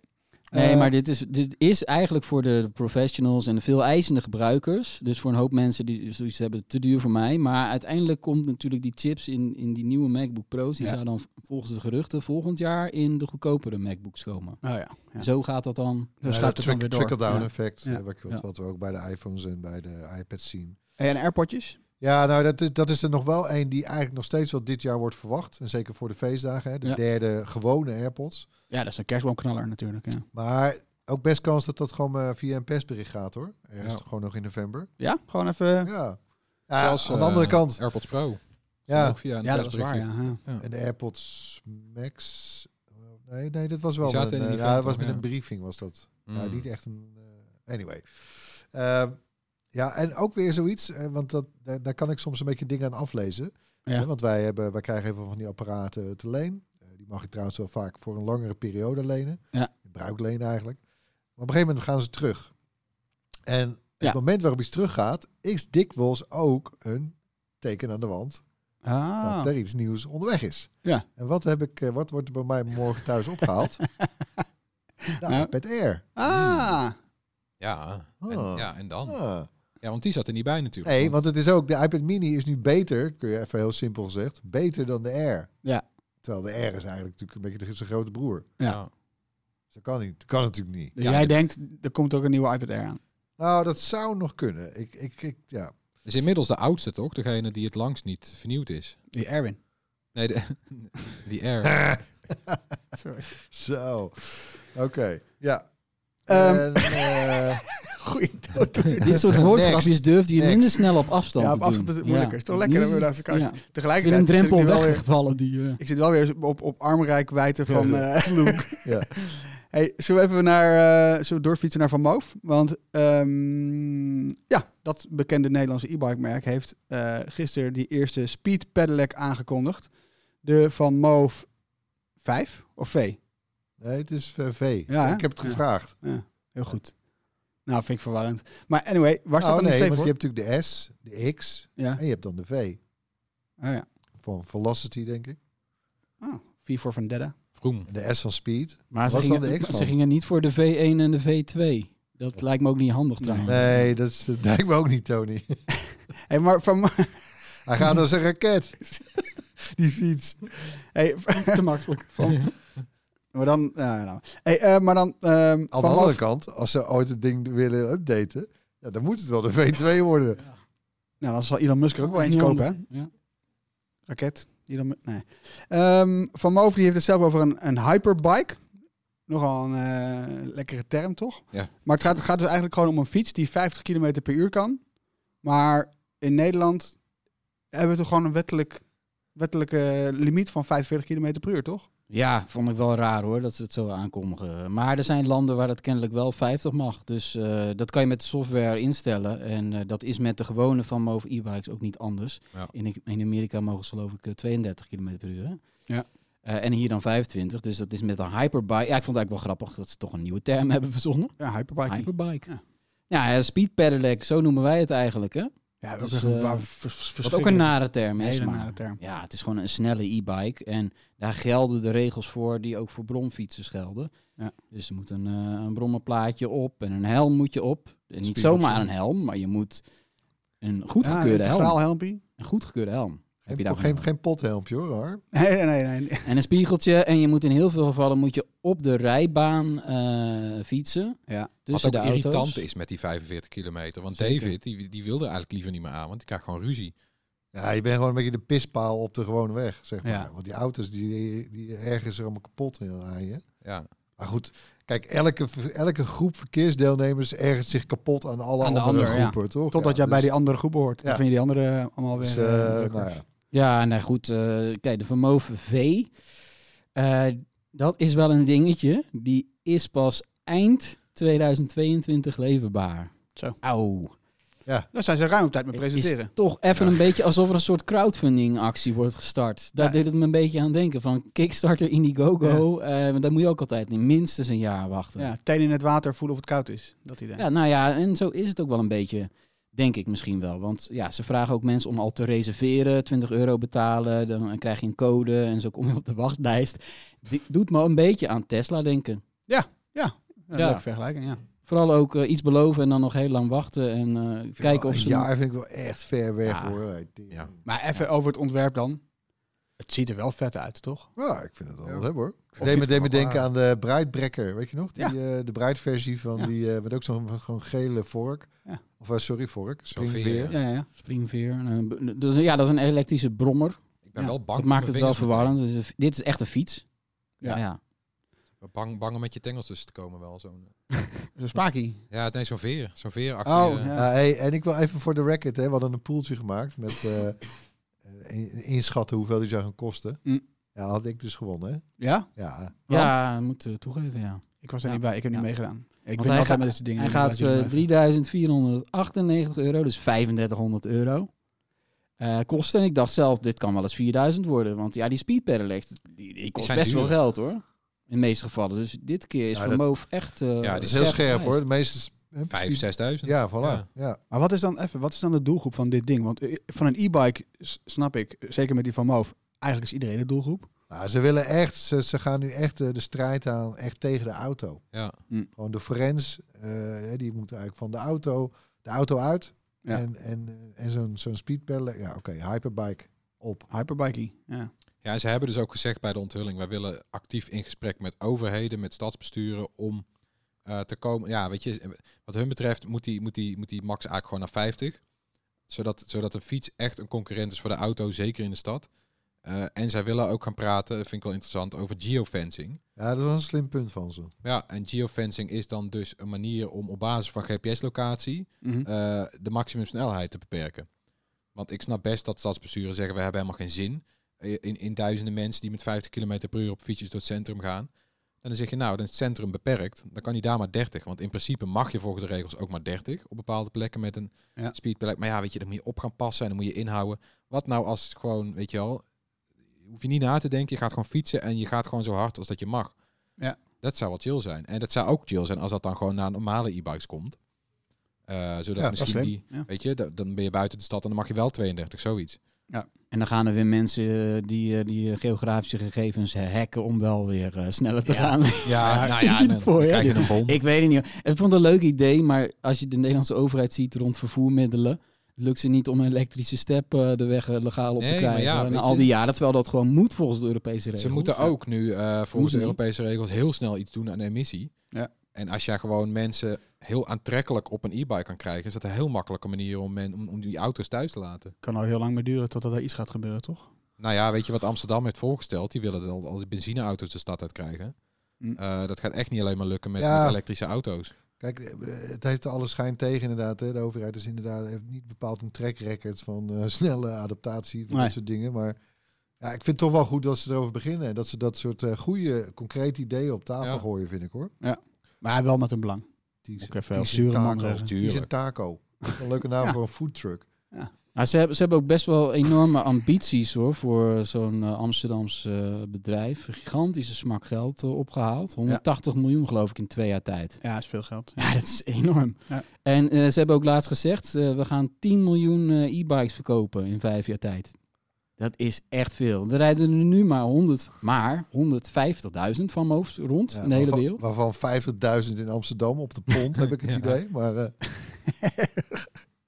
S5: Nee,
S3: Eh,
S5: maar dit is, dit is eigenlijk voor de professionals en de veel eisende gebruikers. Dus voor een hoop mensen die zoiets hebben, te duur voor mij. Maar uiteindelijk komt natuurlijk die chips in, in die nieuwe MacBook Pro's. Die
S3: Ja.
S5: zou dan volgens de geruchten volgend jaar in de goedkopere MacBooks komen.
S3: Oh ja, ja.
S5: Zo gaat dat dan.
S3: dan
S4: Ja,
S3: schuift
S4: dat
S3: Dus het dan weer
S4: trick-
S3: door.
S4: Trickle-down
S3: Ja.
S4: effect,
S3: Ja.
S4: eh, wat,
S5: Ja.
S4: wat we ook bij de iPhones en bij de iPads zien.
S3: En AirPodjes?
S4: Ja, nou, dat is, dat is er nog wel één die eigenlijk nog steeds wel dit jaar wordt verwacht. En zeker voor de feestdagen, hè? de
S5: Ja.
S4: derde gewone AirPods.
S3: Ja, dat is een kerstboomknaller natuurlijk. Ja,
S4: Maar ook best kans dat dat gewoon eh, via een persbericht gaat, hoor. Ergens
S6: Ja.
S4: gewoon nog in november.
S3: ja gewoon even...
S4: Ja. Ja,
S6: Zelfs,
S4: aan de
S6: eh, oh.
S4: andere kant.
S6: AirPods Pro.
S4: Ja.
S6: Ook via een
S3: Ja, dat is waar,
S6: persberichtje.
S3: ja. ja.
S4: En de AirPods Max. eh, Nee, nee, dat was wel.
S6: Die
S4: met
S6: zaten
S4: een,
S6: in die
S4: eh, ja, dat
S6: veld,
S4: was met
S6: ja.
S4: een briefing, was dat.
S6: Mm.
S4: Ja, Nou, niet echt een. eh, anyway. Ehm, ja, en ook weer zoiets, eh, want dat, daar, daar kan ik soms een beetje dingen aan aflezen.
S5: Ja.
S4: Hè, want wij, hebben, wij krijgen even van die apparaten te leen. Eh, die mag je trouwens wel vaak voor een langere periode lenen.
S5: Ja.
S4: In Bruik lenen eigenlijk. Maar op een gegeven moment gaan ze terug. En
S5: Ja.
S4: het moment waarop iets teruggaat, is dikwijls ook een teken aan de wand dat
S3: Ah.
S4: er iets nieuws onderweg is.
S3: Ja.
S4: En wat, heb ik, eh, wat wordt er bij mij morgen thuis opgehaald? nou,
S3: Nou.
S4: iPad Air.
S3: Ah.
S6: Ja, en,
S4: Ah.
S6: ja, en dan?
S4: Ah.
S6: Ja, want die zat er niet bij natuurlijk.
S4: Nee, want het is ook, de iPad Mini is nu beter, kun je even heel simpel gezegd, beter dan de Air.
S5: Ja.
S4: Terwijl de Air is eigenlijk natuurlijk een beetje de- zijn grote broer.
S5: Ja.
S4: Dus dat kan, niet, dat kan natuurlijk niet.
S3: Dus
S6: Ja,
S3: jij
S6: dit-
S3: denkt, er komt ook een nieuwe iPad Air aan.
S4: Nou, dat zou nog kunnen. Ik, ik, ik, ja.
S6: Is inmiddels de oudste toch? Degene die het langst niet vernieuwd is.
S3: Die Erwin.
S6: Nee, de, die Air.
S3: Sorry.
S4: Zo. Oké, ja.
S3: Ehm.
S4: En, eh,
S3: Goeie dood.
S5: Dit soort woordgrapjes durfde je
S4: Next.
S5: minder snel op afstand
S3: Ja,
S5: te
S3: op afstand
S5: doen.
S3: is het moeilijker. Is toch lekker
S5: Nu
S3: dat we daar elkaar-
S5: ja. Ik ben
S3: Tegelijkertijd
S5: een
S3: zit ik nu
S5: drempel
S3: wel weer-
S5: weggevallen. Die, eh,
S3: Ik zit wel weer op, op armrijkwijde van
S4: Ja,
S3: eh
S4: Ja.
S3: Hey, zullen we even naar, eh, zullen we doorfietsen naar Van Moof? Want ehm, ja, dat bekende Nederlandse e-bike merk heeft eh, gisteren die eerste Speed Pedelec aangekondigd. De Van Moof 5 of V?
S4: nee, het is eh, V.
S3: Ja, hè?
S4: ik heb het
S3: Ja.
S4: gevraagd.
S3: Heel goed. Nou, vind ik verwarrend. Maar anyway, waar staat
S4: oh
S3: dan
S4: nee,
S3: die V
S4: want
S3: voor?
S4: je hebt natuurlijk de S, de X
S3: Ja.
S4: en je hebt dan de V.
S3: Oh, ja.
S4: Van Velocity, denk ik.
S3: Oh, V voor Vendetta.
S6: Vroom.
S4: En de S van Speed.
S3: Mm.
S5: maar ze
S4: was dan
S5: gingen,
S4: de X van?
S5: ze gingen niet voor de V1 en de V2. Dat lijkt me ook niet handig trouwens.
S4: Nee, dat is, dat lijkt me ook niet, Tony.
S3: Hey, maar Van Mo-
S4: Hij gaat als een raket. Die fiets.
S3: hey,
S5: Te makkelijk.
S3: maar dan, nou, nou. Hey, eh, maar dan ehm,
S4: Aan de
S3: Van
S4: andere
S3: Moof-
S4: kant, als ze ooit het ding willen updaten, ja, dan moet het wel de V2 worden.
S3: Nou, dan zal Elon Musk er ook wel eens kopen, hè?
S5: Ja.
S3: raket. Die dan, met- nee. Ehm, van Moof die heeft het zelf over een, een hyperbike. Nogal een eh, lekkere term, toch?
S6: Ja.
S3: Maar het gaat, het gaat dus eigenlijk gewoon om een fiets die 50 km per uur kan. Maar in Nederland hebben we toch gewoon een wettelijk, wettelijke limiet van 45 km per uur, toch?
S5: Ja, vond ik wel raar hoor, dat ze het zo aankondigen. Maar er zijn landen waar dat kennelijk wel 50 mag. Dus eh, dat kan je met de software instellen. En eh, dat is met de gewone van Move e-bikes ook niet anders.
S6: Ja.
S5: In, in Amerika mogen ze geloof ik eh, 32 km per uur. hè?
S3: Ja.
S5: Eh, en hier dan 25. Dus dat is met een hyperbike. Ja, ik vond het eigenlijk wel grappig dat ze toch een nieuwe term hebben verzonnen.
S3: Ja, hyperbike.
S5: Hyperbike.
S3: Ja.
S5: Ja, eh, speed pedelec, zo noemen wij het eigenlijk. Hè?
S3: Ja, dat
S5: Dus,
S3: is
S5: eh,
S3: een
S5: Wat ook een eh, nare term is.
S3: hele
S5: maar-
S3: nare term.
S5: ja, het is gewoon een snelle e-bike. En daar gelden de regels voor die ook voor bromfietsers gelden.
S3: Ja.
S5: Dus er moet een, eh een brommenplaatje op en een helm moet je op. En niet
S3: Spiegels,
S5: zomaar
S3: ja.
S5: een helm, maar je moet een
S3: Ja,
S5: goedgekeurde helm.
S3: straalhelmpje.
S5: Een goedgekeurde helm. Heb je
S4: Geen,
S5: daar
S4: geen, geen pothelmpje hoor, hoor.
S3: Nee, nee, nee. nee.
S5: En een spiegeltje. En je moet in heel veel gevallen moet je op de rijbaan eh, fietsen.
S3: Ja.
S5: Tussen
S6: Wat ook
S5: de auto's.
S6: irritant is met die 45 kilometer. Want
S5: Zeker.
S6: David, die, die wilde eigenlijk liever niet meer aan, want die krijgt gewoon ruzie.
S4: Ja, je bent gewoon een beetje de pispaal op de gewone weg, zeg maar.
S3: Ja.
S4: Want die auto's die, die ergens er allemaal kapot in rijden.
S6: Ja,
S4: Maar goed, kijk, elke, elke groep verkeersdeelnemers ergens zich kapot aan alle
S3: Aan de
S4: andere
S3: ander, ja.
S4: groepen, toch?
S3: Totdat jij bij
S4: dus-
S3: die andere groep hoort. Dan
S4: Ja.
S3: vind je die andere allemaal weer...
S4: dus,
S3: eh,
S4: eh,
S3: leuk.
S4: nou ja.
S5: Ja, nou goed. eh, kijk, de Vermoven V. eh, dat is wel een dingetje. Die is pas eind 2022 leverbaar.
S3: Zo.
S5: Auw.
S3: Daar zijn ze ruim op tijd mee
S5: Het
S3: presenteren.
S5: Is toch even een beetje alsof er een soort crowdfunding actie wordt gestart. Daar
S3: Ja.
S5: deed het me een beetje aan denken. Van Kickstarter, Indiegogo. eh daar moet je ook altijd minstens een jaar wachten.
S3: Ja, tenen in het water voelen of het koud is. Dat idee.
S5: Ja, nou ja, en zo is het ook wel een beetje, denk ik misschien wel. Want ja, ze vragen ook mensen om al te reserveren, 20 euro betalen, dan krijg je een code en zo kom je op de wachtlijst. Dit doet me een beetje aan Tesla denken.
S3: Een
S5: ja.
S3: Leuke vergelijking, ja.
S5: Vooral ook eh, iets beloven en dan nog heel lang wachten en eh, kijken of ze...
S4: Ja, vind ik wel echt ver weg,
S5: Ja.
S4: hoor. Hey, die-
S6: Ja.
S3: Maar even over het ontwerp dan. Het ziet er wel vet uit, toch?
S4: Ja, ik vind het wel
S3: Ja.
S4: wat hebben hoor.
S6: je
S4: Ik deed me,
S6: het
S4: deed me
S6: wel
S4: denken
S6: waar.
S4: aan de Breitbrekker, weet je nog? Die,
S3: Ja.
S4: eh, de Breitversie van
S3: Ja.
S4: die, eh, met ook zo'n gewoon gele vork.
S3: Ja.
S4: Of eh, sorry, vork,
S6: Zo'n
S4: springveer.
S6: veer,
S3: Ja, ja, ja.
S5: Springveer. en een b- dus, ja, dat is een elektrische brommer.
S6: ik ben
S3: Ja,
S6: wel bang
S5: Dat
S6: voor
S5: maakt het
S6: mijn
S5: wel
S6: vingers meteen.
S5: verwarrend. Dus een fi- dit is echt een fiets.
S3: Ja.
S5: Ja. ja.
S6: Bang, bang om met je tengels tussen te komen wel. Zo'n, eh,
S3: Zo'n spaakie.
S6: ja, nee, zo'n veer. Zo'n veer achter
S3: Oh,
S6: je- eh,
S3: ja.
S4: Ah, hey, en ik wil even voor de record, hè, we hadden een poeltje gemaakt met eh, eh, in- inschatten hoeveel die zou gaan kosten.
S3: Mm.
S4: Ja, had ik dus gewonnen. Hè?
S3: Ja?
S4: Ja,
S5: moet eh, toegeven, ja.
S3: Ik was er
S5: Ja.
S3: niet bij. Ik heb niet
S5: Ja.
S3: meegedaan. Ik
S5: Want
S3: ben
S5: hij
S3: altijd
S5: gaat-
S3: met deze dingen.
S5: Hij
S3: niet
S5: gaat
S3: bij, dus
S5: eh,
S3: blijf.
S5: 3498 euro, dus 3500 euro. eh, kosten. En ik dacht zelf, dit kan wel eens 4000 worden. Want ja, die speed pedelecs, die, die kost
S6: zijn
S5: best wel
S6: duur.
S5: geld hoor. In de meeste gevallen. Dus dit keer is
S4: Ja,
S5: voor
S4: dat-
S5: Moof echt... eh,
S6: Ja,
S4: dat
S6: die
S4: is heel scherp
S5: geprijsd.
S4: hoor. De meeste... s- hè,
S6: Vijf,
S4: precies-
S6: zesduizend.
S4: Ja, voilà. Ja.
S6: Ja.
S3: Maar wat is dan even, wat is dan de doelgroep van dit ding? Want eh, van een e-bike s- snap ik, zeker met die van Moof, eigenlijk is iedereen de doelgroep.
S4: Nou, ze willen echt, ze, ze gaan nu echt eh, de strijd aan, echt tegen de auto.
S6: Ja.
S4: Gewoon de forens, eh, hè, die moet eigenlijk van de auto, de auto uit.
S3: Ja.
S4: En, en, eh, en zo'n zo'n speedpedal, ja oké, hyperbike op.
S3: Hyperbikey. Ja.
S6: Ja, en ze hebben dus ook gezegd bij de onthulling, wij willen actief in gesprek met overheden, met stadsbesturen om eh, te komen. Ja, weet je, eh, wat hun betreft moet die, moet die, moet die max eigenlijk gewoon naar 50. Zodat, zodat de fiets echt een concurrent is voor de auto, zeker in de stad. Eh, en zij willen ook gaan praten, vind ik wel interessant, over geofencing.
S4: Ja, dat is wel een slim punt van ze.
S6: Ja, en geofencing is dan dus een manier om op basis van GPS-locatie
S3: Mhm.
S6: eh, de maximumsnelheid te beperken. Want ik snap best dat stadsbesturen zeggen, we hebben helemaal geen zin eh, in, in duizenden mensen die met 50 km per uur op fietsjes door het centrum gaan. En dan zeg je, nou, dan is het centrum beperkt. Dan kan hij daar maar 30. Want in principe mag je volgens de regels ook maar 30 op bepaalde plekken met een
S3: Ja.
S6: speedpedelec. Maar ja, weet je, dan moet je op gaan passen en dan moet je inhouden. Wat nou als het gewoon, weet je wel, hoef je niet na te denken. Je gaat gewoon fietsen en je gaat gewoon zo hard als dat je mag.
S3: Ja.
S6: Dat zou wel chill zijn. En dat zou ook chill zijn als dat dan gewoon naar normale e-bikes komt. Eh, zodat
S4: Ja,
S3: Dat is
S6: misschien
S3: slim.
S6: die,
S3: Ja.
S6: Weet je, da- dan ben je buiten de stad en dan mag je wel 32, zoiets.
S5: En dan gaan er weer mensen eh, die, eh, die eh, geografische gegevens eh, hacken om wel weer eh, sneller te gaan.
S6: Ja,
S5: Eh, je ziet het voor je.
S6: Krijg je een bom.
S5: Ik weet het niet. hoor. Ik vond het een leuk idee, maar als je de Nederlandse overheid ziet rond vervoermiddelen, het lukt ze niet om een elektrische step eh, de weg eh, legaal op
S6: Nee,
S5: te
S6: maar
S5: krijgen.
S6: ja,
S5: Na
S6: weet
S5: al
S6: je-
S5: die jaren, terwijl dat gewoon moet volgens de Europese regels.
S6: Ze moeten ook nu eh, volgens
S5: Moeten
S6: de
S5: niet.
S6: Europese regels heel snel iets doen aan de emissie.
S3: Ja.
S6: En als jij gewoon mensen heel aantrekkelijk op een e-bike kan krijgen, is dat een heel makkelijke manier om, men, om, om die auto's thuis te laten.
S3: Kan al heel lang meer duren totdat er iets gaat gebeuren, toch?
S6: Nou ja, weet je wat Amsterdam heeft voorgesteld? Die willen al, al die benzineauto's de stad uit krijgen.
S3: Mm.
S6: Eh, dat gaat echt niet alleen maar lukken met,
S4: Ja.
S6: met elektrische auto's.
S4: Kijk, eh, het heeft er alle schijn tegen inderdaad. Hè. De overheid is inderdaad heeft niet bepaald een track record van eh, snelle adaptatie van
S3: Nee.
S4: dat soort dingen. Maar Ja, ik vind het toch wel goed dat ze erover beginnen. En dat ze dat soort eh, goede, concrete ideeën op tafel
S6: Ja.
S4: gooien, vind ik hoor.
S3: Maar wel met een belang.
S4: Die
S3: Ook
S4: is,
S3: even
S4: die
S3: als
S4: is
S3: zure man
S4: taco.
S3: zeggen.
S4: Die is een
S6: Tuurlijk.
S4: taco. Een leuke naam
S3: Ja.
S4: voor een foodtruck.
S5: Maar Nou, ze, hebben, ze hebben ook best wel enorme ambities hoor, voor zo'n eh, Amsterdamse eh, bedrijf. Een Gigantische smak geld eh, opgehaald. 180 miljoen geloof ik in twee jaar tijd.
S3: Ja, is veel geld.
S5: Ja, dat is enorm.
S3: Ja.
S5: En eh, ze hebben ook laatst gezegd, eh, we gaan 10 miljoen eh, e-bikes verkopen in vijf jaar tijd. Dat is echt veel. Er rijden er nu maar 100, maar 150.000 van mijn hoofd rond
S4: Ja,
S5: in de hele
S4: waarvan-
S5: wereld.
S4: Waarvan 50.000 in Amsterdam op de pond, heb ik het
S6: Ja.
S4: idee. Maar eh,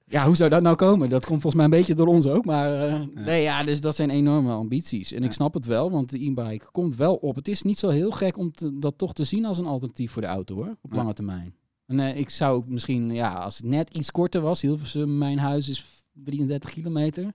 S5: Ja, hoe zou dat nou komen? Dat komt volgens mij een beetje door ons ook. Maar eh, nee, ja, dus dat zijn enorme ambities. En ik
S3: Ja.
S5: snap het wel, want de e-bike komt wel op. Het is niet zo heel gek om te- dat toch te zien als een alternatief voor de auto hoor, op
S3: Ja.
S5: lange termijn. En eh, ik zou ook misschien, ja, als het net iets korter was, Hilversum, mijn huis is 33 kilometer. Nou,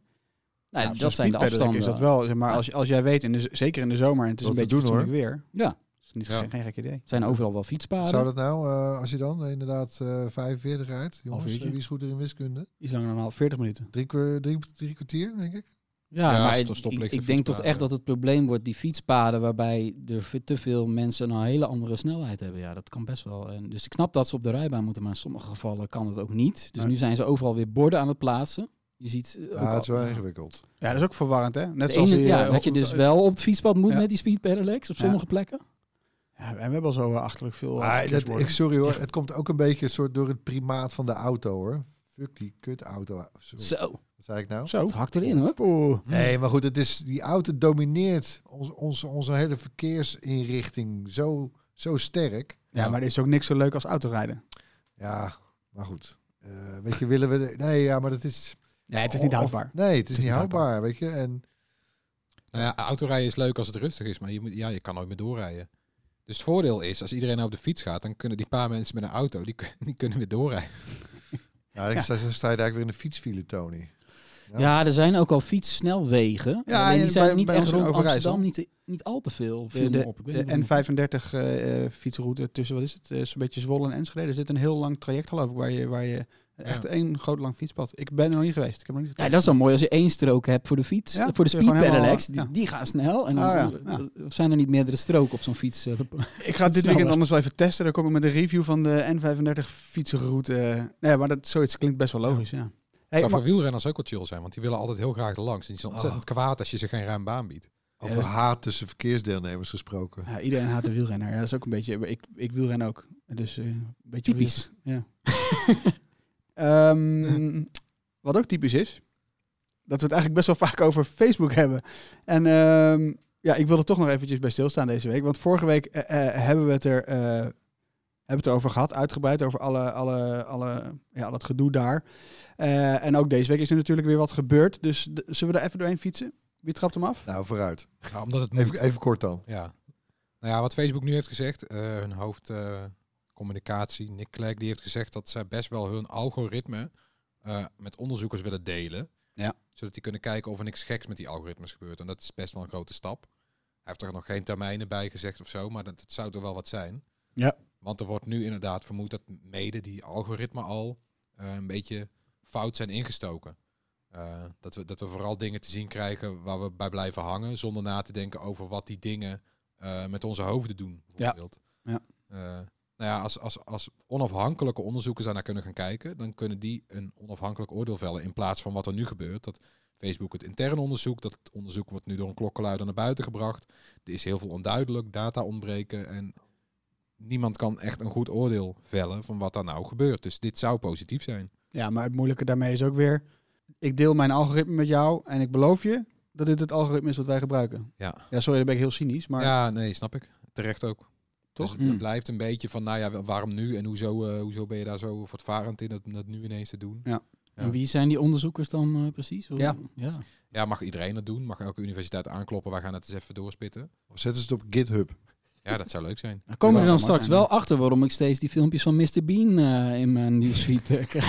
S3: Ja,
S5: dat zijn de afstanden.
S3: Is dat wel, zeg maar als, je- als jij weet, in de, z- zeker in de zomer, en het is
S4: Wat
S3: een
S4: te
S3: beetje
S4: doen, hoor.
S3: fatsoenlijk weer.
S5: Ja.
S3: Is niet,
S6: Ja.
S3: geen, geen gek idee.
S5: zijn overal wel fietspaden.
S4: zou dat nou, eh, als je dan eh, inderdaad eh, 45 rijdt? Jongens,
S3: uurtje.
S4: eh, wie is goed er in wiskunde?
S3: Iets langer dan een half, 40 minuten.
S4: Drie, kwa- drie, drie kwartier, denk ik.
S5: Ja,
S6: Ja,
S5: maar
S6: sto-
S5: ik- ik,
S6: stoplichten,
S5: ik denk toch
S6: fietspaden.
S5: echt dat het probleem wordt die fietspaden waarbij er ve- te veel mensen een hele andere snelheid hebben. Ja, dat kan best wel. En dus ik snap dat ze op de rijbaan moeten, maar in sommige gevallen kan het ook niet. Dus
S3: Nee.
S5: nu zijn ze overal weer borden aan het plaatsen. Je ziet eh, ook
S4: Ja, Ah, het is wel
S5: al-
S4: ingewikkeld.
S3: Ja, dat is ook verwarrend, hè? Net
S5: de
S3: zoals
S5: ene-
S3: die,
S5: ja,
S3: eh,
S5: dat je
S3: op-
S5: dus wel op het fietspad moet
S3: Ja.
S5: met die speed pedelecs op
S3: Ja.
S5: sommige plekken.
S3: Ja, en we hebben al zo eh, achterlijk veel. eh,
S4: Maar dat,
S3: verkeersborden.
S4: ik, sorry hoor, het komt ook een beetje soort door het primaat van de auto hoor. Fuck die kut auto. Sorry,
S5: Zo, Hm.
S4: wat zei ik nou?
S3: Zo.
S5: dat hakt erin hoor.
S3: Oeh.
S4: Nee, maar goed, het is, die auto domineert ons, onze onze hele verkeersinrichting zo, zo sterk.
S3: Ja, maar er is ook niks zo leuk als autorijden.
S4: Ja, maar goed. Eh, weet je, willen we... de- nee, ja, maar dat is...
S3: Nee, het is niet
S4: of-
S3: houdbaar.
S4: nee, het is, niet houdbaar, weet je. En
S6: Nou ja, autorijden is leuk als het rustig is, maar je, moet, ja, je kan nooit meer doorrijden. Dus het voordeel is, als iedereen nou op de fiets gaat, dan kunnen die paar mensen met een auto, die, kun- die kunnen weer doorrijden.
S4: ja, dan sta, dan sta je daar weer in de fietsfile, Tony.
S5: Ja. er zijn ook al fietssnelwegen.
S3: Ja,
S5: alleen
S3: en
S5: die zijn
S3: bij-
S5: niet
S3: bij
S5: echt
S3: ons in
S5: rond
S3: Overijssel.
S5: Amsterdam niet, niet al te veel.
S3: De,
S5: viel me
S3: de,
S5: op. Ik weet
S3: de
S5: niet waarom.
S3: N35 eh, eh, fietsroute tussen, wat is het? Eh, Zo'n beetje Zwolle en Enschede. Er zit een heel lang traject, geloof ik, waar je, waar je echt één groot lang fietspad. Ik ben er nog niet geweest. Ik heb nog niet
S5: Ja,
S3: getest.
S5: dat is dan mooi als je één strook hebt voor de fiets.
S3: Ja,
S5: eh, voor de
S3: kun je
S5: speed
S3: gewoon helemaal-
S5: pedelecs, die,
S3: ja.
S5: die gaan snel. En dan,
S3: Ah, ja,
S5: eh, Of zijn er niet meerdere stroken op zo'n fiets? eh,
S3: Ik ga dit
S5: Sneller.
S3: weekend anders wel even testen. Dan kom ik met een review van de N35 fietsroute. Nee, maar dat, zoiets klinkt best wel logisch, ja. Hey,
S6: zou
S3: maar- Ah.
S6: voor wielrenners ook wel chill zijn, want die willen altijd heel graag er langs. En die zijn ontzettend kwaad als je ze geen ruim baan biedt.
S4: Over haat tussen verkeersdeelnemers gesproken.
S3: ja, iedereen haat de wielrenner. Ja, dat is ook een beetje... Ik, ik wielren ook. Dus eh, een beetje...
S5: Typisch.
S3: Ja. Ehm, wat ook typisch is... Dat we het eigenlijk best wel vaak over Facebook hebben. En ehm, ja, ik wil er toch nog eventjes bij stilstaan deze week. Want vorige week eh, eh, hebben we het er... eh, hebben we het over gehad, uitgebreid over alle, alle, alle, ja, al het gedoe daar. Eh, en ook deze week is er natuurlijk weer wat gebeurd. Dus d- zullen we er even doorheen fietsen? Wie trapt hem af?
S4: Nou, vooruit.
S6: Nou, omdat het moet.
S4: Even, even kort dan.
S6: Ja. Nou ja, wat Facebook nu heeft gezegd, eh, hun hoofdcommunicatie, Nick Clegg, die heeft gezegd dat zij best wel hun algoritme eh, met onderzoekers willen delen.
S3: Ja.
S6: Zodat die kunnen kijken of er niks geks met die algoritmes gebeurt. En dat is best wel een grote stap. Hij heeft er nog geen termijnen bij gezegd of zo, maar dat, dat zou toch wel wat zijn.
S3: Ja.
S6: Want er wordt nu inderdaad vermoed dat mede die algoritme al eh, een beetje fout zijn ingestoken. Eh, dat, we, dat we vooral dingen te zien krijgen waar we bij blijven hangen, zonder na te denken over wat die dingen eh, met onze hoofden doen. Bijvoorbeeld.
S3: Ja.
S6: Eh, nou ja, als, als, als onafhankelijke onderzoekers daarnaar kunnen gaan kijken, dan kunnen die een onafhankelijk oordeel vellen in plaats van wat er nu gebeurt. Dat Facebook het intern onderzoek, dat onderzoek wordt nu door een klokkenluider naar buiten gebracht. Er is heel veel onduidelijk, data ontbreken en niemand kan echt een goed oordeel vellen van wat daar nou gebeurt. Dus dit zou positief zijn.
S3: Ja, maar het moeilijke daarmee is ook weer... Ik deel mijn algoritme met jou en ik beloof je dat dit het algoritme is wat wij gebruiken.
S6: Ja.
S3: Ja, sorry, dan ben ik heel cynisch, maar...
S6: Ja, nee, snap ik. Terecht ook.
S3: Toch?
S6: Dus het
S5: Mm.
S6: blijft een beetje van, nou ja, wa- waarom nu en hoezo, eh, hoezo ben je daar zo voortvarend in dat, om dat nu ineens te doen? Ja.
S5: En wie zijn die onderzoekers dan eh, precies? Hoe-
S6: Ja.
S5: ja.
S6: Ja, mag iedereen dat doen? Mag elke universiteit aankloppen? Wij gaan het eens even doorspitten.
S4: Of zetten ze het op GitHub.
S6: Ja, dat zou leuk zijn.
S5: Dan komen we
S3: zou
S5: dan
S3: mooi
S5: straks
S3: zijn,
S5: wel achter waarom ik steeds die filmpjes van Mr. Bean eh, in mijn nieuwsfeed eh, krijg.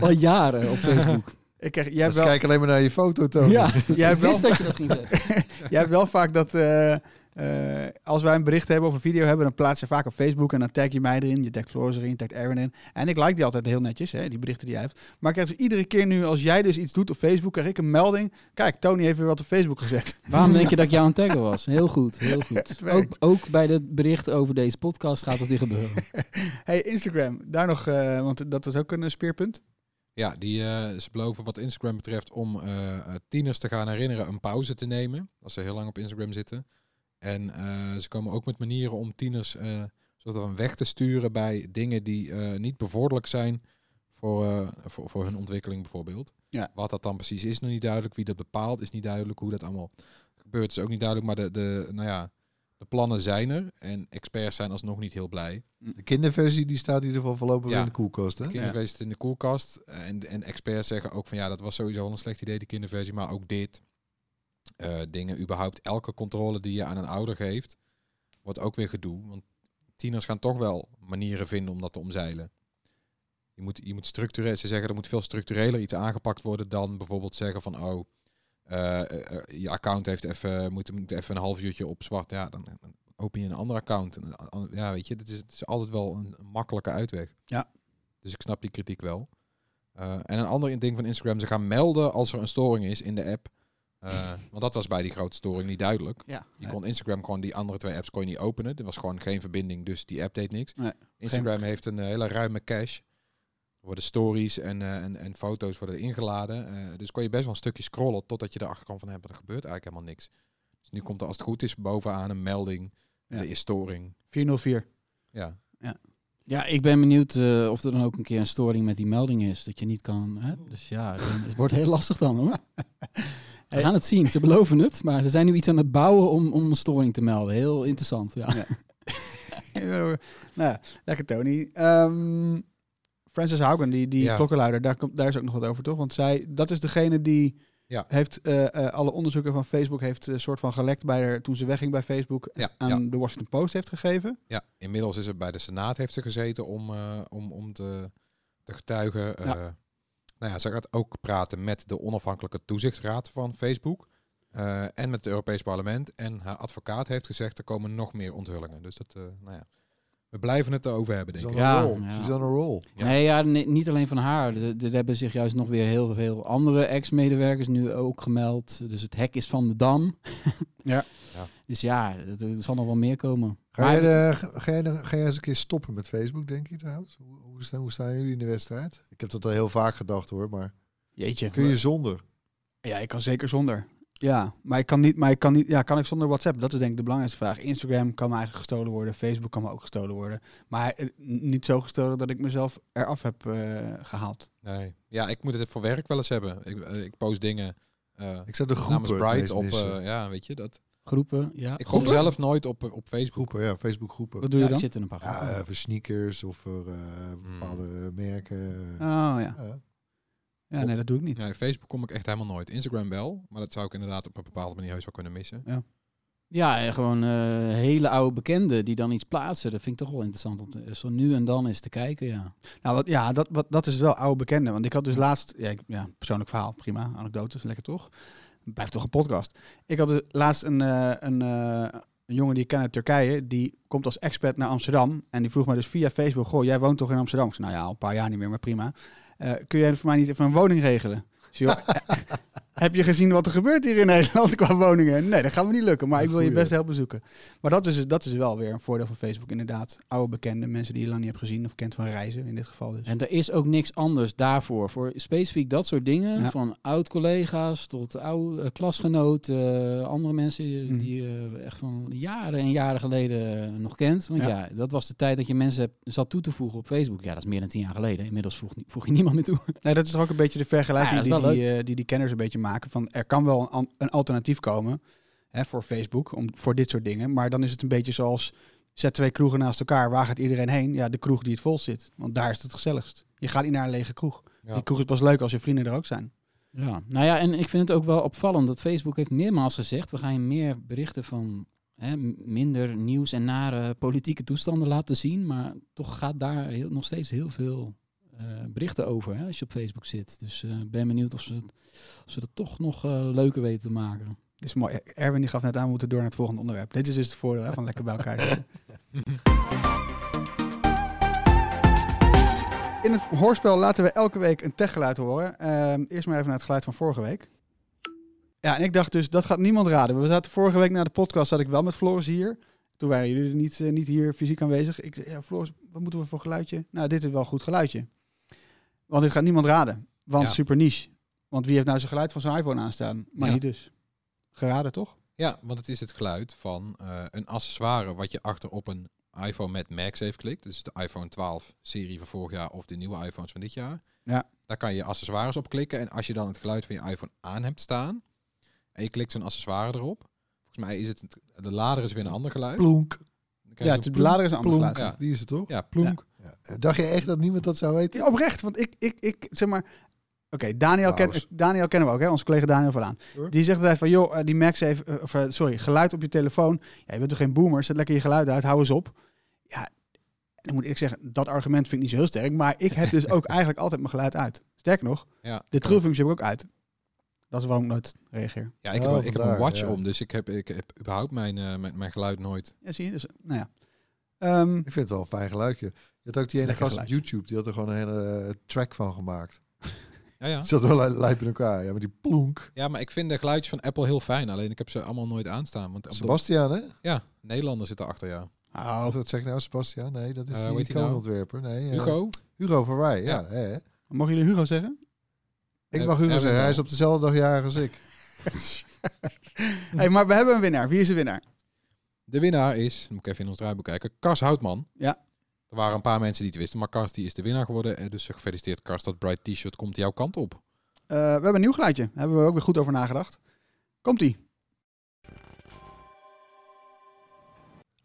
S5: al jaren op Facebook.
S3: Ik krijg, jij,
S4: Ja,
S3: hebt wel,
S4: kijk alleen maar naar je foto, Tony.
S5: ja,
S3: jij, hebt
S5: ik wist
S3: wel,
S5: dat je dat ging zeggen.
S3: jij hebt wel vaak dat, eh, Eh, als wij een bericht hebben of een video hebben, dan plaats je vaak op Facebook en dan tag je mij erin. Je tagt Floris erin, je tagt Aaron in. En ik like die altijd heel netjes, hè, die berichten die jij hebt. Maar ik krijg dus iedere keer nu, als jij dus iets doet op Facebook, krijg ik een melding. Kijk, Tony heeft weer wat op Facebook gezet.
S5: Waarom denk je dat ik jou aan het taggen was? Heel goed, heel
S3: Het
S5: goed. Ook,
S3: werkt.
S5: ook bij de berichten over deze podcast gaat dat hier gebeuren.
S3: hey, Instagram, daar nog, eh, want dat was ook een eh, speerpunt.
S6: Ja, die, eh, ze beloven wat Instagram betreft om eh, eh, tieners te gaan herinneren een pauze te nemen. Als ze heel lang op Instagram zitten. En eh, ze komen ook met manieren om tieners eh soort van weg te sturen bij dingen die eh, niet bevorderlijk zijn voor, eh, voor, voor hun ontwikkeling bijvoorbeeld.
S3: Ja.
S6: Wat dat dan precies is nog niet duidelijk. Wie dat bepaalt is niet duidelijk. Hoe dat allemaal gebeurt is ook niet duidelijk. Maar de, de, nou ja, de plannen zijn er. En experts zijn alsnog niet heel blij.
S4: De kinderversie die staat in ieder geval voorlopig
S6: Ja.
S4: in de koelkast. Hè?
S6: Kinderversie zit in de koelkast. Eh, En, en experts zeggen ook van ja, dat was sowieso al een slecht idee, die kinderversie. Maar ook dit. eh, dingen überhaupt. Elke controle die je aan een ouder geeft, wordt ook weer gedoe. Want tieners gaan toch wel manieren vinden om dat te omzeilen. Je moet, je moet structureel, ze zeggen er moet veel structureler iets aangepakt worden dan bijvoorbeeld zeggen van oh, eh, eh, eh, je account heeft even, moet, moet even een half uurtje op zwart. Ja, dan dan open je een ander account. En een an- Ja, weet je, het is, het is altijd wel een een makkelijke uitweg.
S3: Ja.
S6: Dus ik snap die kritiek wel. Eh, en een ander ding van Instagram, ze gaan melden als er een storing is in de app. Eh, want dat was bij die grote storing niet duidelijk.
S5: Ja.
S6: Je kon Instagram gewoon die andere twee apps kon je niet openen. Er was gewoon geen verbinding, dus die app deed niks.
S5: Nee,
S6: Instagram heeft een eh, hele ruime cache. Er worden stories en, eh, en, en foto's worden ingeladen. Eh, dus kon je best wel een stukje scrollen totdat je erachter kwam van... Hé, maar er gebeurt eigenlijk helemaal niks. Dus nu komt er als het goed is bovenaan een melding.
S3: Ja.
S6: Er is storing.
S3: 404.
S6: Ja.
S5: Ja, ik ben benieuwd eh, of er dan ook een keer een storing met die melding is. Dat je niet kan. Hè?
S3: Hmm.
S5: Dus ja, dan- het wordt heel lastig dan hoor. We
S3: Hey.
S5: gaan het zien, ze beloven het. Maar ze zijn nu iets aan het bouwen om, om een storing te melden. Heel interessant, ja.
S3: nou ja, lekker Tony. Ehm, Frances Haugen, die, die
S6: Ja.
S3: klokkenluider, daar, komt, daar is ook nog wat over, toch? Want zij, dat is degene die
S6: Ja.
S3: heeft eh, eh, alle onderzoeken van Facebook heeft een soort van gelekt bij haar, toen ze wegging bij Facebook
S6: Ja,
S3: aan
S6: ja.
S3: de Washington Post heeft gegeven.
S6: Ja, inmiddels is het bij de Senaat heeft ze gezeten om, eh, om, om te, te getuigen. Eh, Nou ja, ze gaat ook praten met de onafhankelijke toezichtsraad van Facebook. eh, en met het Europees Parlement. En haar advocaat heeft gezegd, er komen nog meer onthullingen. Dus dat, eh, nou ja, we blijven het erover hebben,
S4: She's
S6: denk
S4: on
S6: ik.
S4: a
S5: Ja,
S4: roll.
S5: ja.
S4: She's on a roll.
S6: Ja.
S5: Nee, ja, nee, niet alleen van haar. Er, er hebben zich juist nog weer heel veel andere ex-medewerkers nu ook gemeld. Dus het hek is van de dam.
S3: Ja.
S6: Ja.
S5: Dus ja, het- er zal nog wel meer komen.
S4: Ga
S5: Maar-
S4: jij, de- ga, jij de- ga jij eens een keer stoppen met Facebook, denk je trouwens? Hoe, hoe, staan, hoe staan jullie in de wedstrijd? Ik heb dat al heel vaak gedacht hoor, maar
S3: Jeetje.
S4: kun je zonder?
S3: Ja, ik kan zeker zonder. Ja, maar ik kan niet, maar ik kan niet, ja, kan ik zonder WhatsApp? Dat is denk ik de belangrijkste vraag. Instagram kan me eigenlijk gestolen worden, Facebook kan me ook gestolen worden. Maar eh, niet zo gestolen dat ik mezelf eraf heb eh, gehaald.
S6: Nee. Ja, ik moet het voor werk wel eens hebben. Ik, eh, ik post dingen eh
S4: Ik zou de
S6: namens
S4: groepen
S6: Bright op...
S4: op
S6: eh, ja, weet je, dat.
S5: Groepen, ja.
S6: Ik kom
S5: Ja,
S6: zelf nooit op, eh, op Facebook.
S4: groepen, ja, Facebook groepen.
S3: Wat doe je
S5: ik
S3: dan?
S5: zit in een paar groepen.
S4: Ja, eh, voor sneakers of voor eh,
S6: Hmm.
S4: bepaalde merken.
S3: Oh ja.
S4: Ja.
S3: ja, nee, dat doe ik niet.
S6: Nee, Facebook kom ik echt helemaal nooit. Instagram wel, maar dat zou ik inderdaad op een bepaalde manier heus wel kunnen missen.
S5: Ja, en gewoon eh, hele oude bekenden die dan iets plaatsen. Dat vind ik toch wel interessant om te- zo nu en dan eens te kijken, ja.
S3: Nou, wat, ja, dat, wat, dat is wel oude bekende. Want ik had dus laatst, ja, ik- ja, persoonlijk verhaal, prima, anekdotes, lekker toch? Blijft toch een podcast. Ik had dus laatst een, eh, een, eh, een jongen die ik ken uit Turkije, die komt als expat naar Amsterdam. En die vroeg mij dus via Facebook, goh, jij woont toch in Amsterdam? Ik zei, nou ja, al een paar jaar niet meer, maar prima. Eh, kun jij voor mij niet even een woning regelen? Ik zei, joh, eh, heb je gezien wat er gebeurt hier in Nederland qua woningen? Nee, dat gaan we niet lukken, maar ik wil je
S4: Goeie.
S3: best helpen zoeken. Maar dat is, dat is wel weer een voordeel van Facebook, inderdaad. Oude bekenden, mensen die je lang niet hebt gezien of kent van reizen, in dit geval dus.
S5: En er is ook niks anders daarvoor. Voor specifiek dat soort dingen.
S3: Ja.
S5: Van oud-collega's tot oude klasgenoten. eh, andere mensen
S3: Mhm.
S5: die je echt van jaren en jaren geleden eh, nog kent. Want
S3: Ja.
S5: ja. dat was de tijd dat je mensen hebt- zat toe te voegen op Facebook. Ja, dat is meer dan tien jaar geleden. Inmiddels voeg, ni- voeg je niemand meer toe.
S3: Nee, dat is toch ook een beetje de
S5: Ja,
S3: vergelijking
S5: dat is
S3: die,
S5: wel
S3: die, eh, die die kenners een beetje maken. Van er kan wel een, an- een alternatief komen hè, voor Facebook, om, voor dit soort dingen. Maar dan is het een beetje zoals, zet twee kroegen naast elkaar, waar gaat iedereen heen? Ja, de kroeg die het vol zit, want daar is het het gezelligst. Je gaat niet naar een lege kroeg.
S6: Ja.
S3: Die kroeg is pas leuk als je vrienden er ook zijn.
S5: Ja, nou ja, en ik vind het ook wel opvallend dat Facebook heeft meermaals gezegd: we gaan je meer berichten van hè, m- minder nieuws en nare politieke toestanden laten zien. Maar toch gaat daar heel, nog steeds heel veel eh, berichten over hè, als je op Facebook zit. Dus eh, ik ben benieuwd of ze, of ze dat toch nog eh, leuker weten te maken.
S3: Dit is mooi. E- Erwin die gaf net aan, we moeten door naar het volgende onderwerp. Dit is dus het voordeel hè, van lekker bij elkaar zitten. In het hoorspel laten we elke week een techgeluid horen. Ehm, eerst maar even naar het geluid van vorige week. Ja, en ik dacht dus, dat gaat niemand raden. We zaten vorige week na de podcast, zat ik wel met Floris hier. Toen waren jullie er niet, eh, niet hier fysiek aanwezig. Ik zei, ja, Floris, wat moeten we voor geluidje? Nou, dit is wel een goed geluidje. Want dit gaat niemand raden. Want
S6: Ja.
S3: super niche. Want wie heeft nou zijn geluid van zijn iPhone aanstaan? Maar
S6: Ja.
S3: niet dus. Geraden, toch?
S6: Ja, want het is het geluid van eh, een accessoire wat je achter op een iPhone met MagSafe klikt. Dus de iPhone 12 serie van vorig jaar of de nieuwe iPhones van dit jaar.
S3: Ja.
S6: Daar kan je accessoires op klikken. En als je dan het geluid van je iPhone aan hebt staan en je klikt zo'n accessoire erop. Volgens mij is het, de lader is weer een ander geluid.
S4: Plonk.
S6: Dan krijg
S3: Ja,
S6: je
S3: het
S6: zo'n
S3: belader is een ander
S4: Plonk.
S3: geluid.
S6: Ja.
S4: Die is het toch?
S6: Ja, plonk.
S4: Ja. Eh, Dacht je echt dat niemand dat zou weten?
S3: Ja, oprecht, want ik, ik, ik zeg maar... Oké, Daniel, kent
S4: Trouwens.
S3: Daniel kennen we ook, hè? onze collega Daniel van Laan.
S4: Hoor.
S3: Die zegt altijd van, joh, eh, die Max heeft... eh, Of, eh, sorry, geluid op je telefoon. Ja, je bent toch geen boomer? Zet lekker je geluid uit, hou eens op. Ja, en dan moet ik zeggen, dat argument vind ik niet zo heel sterk. Maar ik heb dus ook eigenlijk altijd mijn geluid uit. Sterker nog,
S6: Ja.
S3: de trillfunctie heb ik ook uit. Dat is waarom ik nooit reageer.
S6: Ja, ik,
S4: Oh,
S6: heb, een- ik heb een
S4: vandaar,
S6: watch
S4: ja.
S6: om, dus ik heb, ik heb überhaupt mijn, eh, mijn, mijn geluid nooit.
S3: Ja, zie je? Dus, nou ja. Ehm,
S4: Ik vind het wel een fijn geluidje. Je had ook die ene
S3: Lekker
S4: gast op YouTube, die had er gewoon een hele eh, track van gemaakt.
S6: Ja, ja.
S4: Het zat wel li- lijp in elkaar, ja, maar die plonk.
S6: ja, maar ik vind de geluidjes van Apple heel fijn. Alleen ik heb ze allemaal nooit aanstaan. Want op de-
S4: Sebastian, hè?
S6: ja, Nederlander zit erachter, ja.
S3: oh,
S4: Of dat zeg ik nou, Sebastian? Nee, dat is
S6: Eh, hoe
S4: die
S6: heet die nou?
S4: icoonontwerper. Nee, eh,
S6: Hugo?
S4: Hugo van Rij, ja.
S6: Ja.
S4: hè.
S3: mogen jullie Hugo zeggen?
S4: Ik
S6: Eh,
S4: mag Hugo
S6: Erwin
S4: zeggen, hij
S6: wel.
S4: is op dezelfde dag jarig als ik.
S3: hey, maar we hebben een winnaar. Wie is de winnaar?
S6: De winnaar is, dan moet ik even in ons draaiboek kijken, Kars Houtman.
S3: Ja.
S6: Er waren een paar mensen die het wisten, maar Kars die is de winnaar geworden. Eh, Dus gefeliciteerd Kars, dat Bright T-shirt komt jouw kant op.
S3: Eh, we hebben een nieuw geluidje. Daar hebben we ook weer goed over nagedacht. Komt-ie.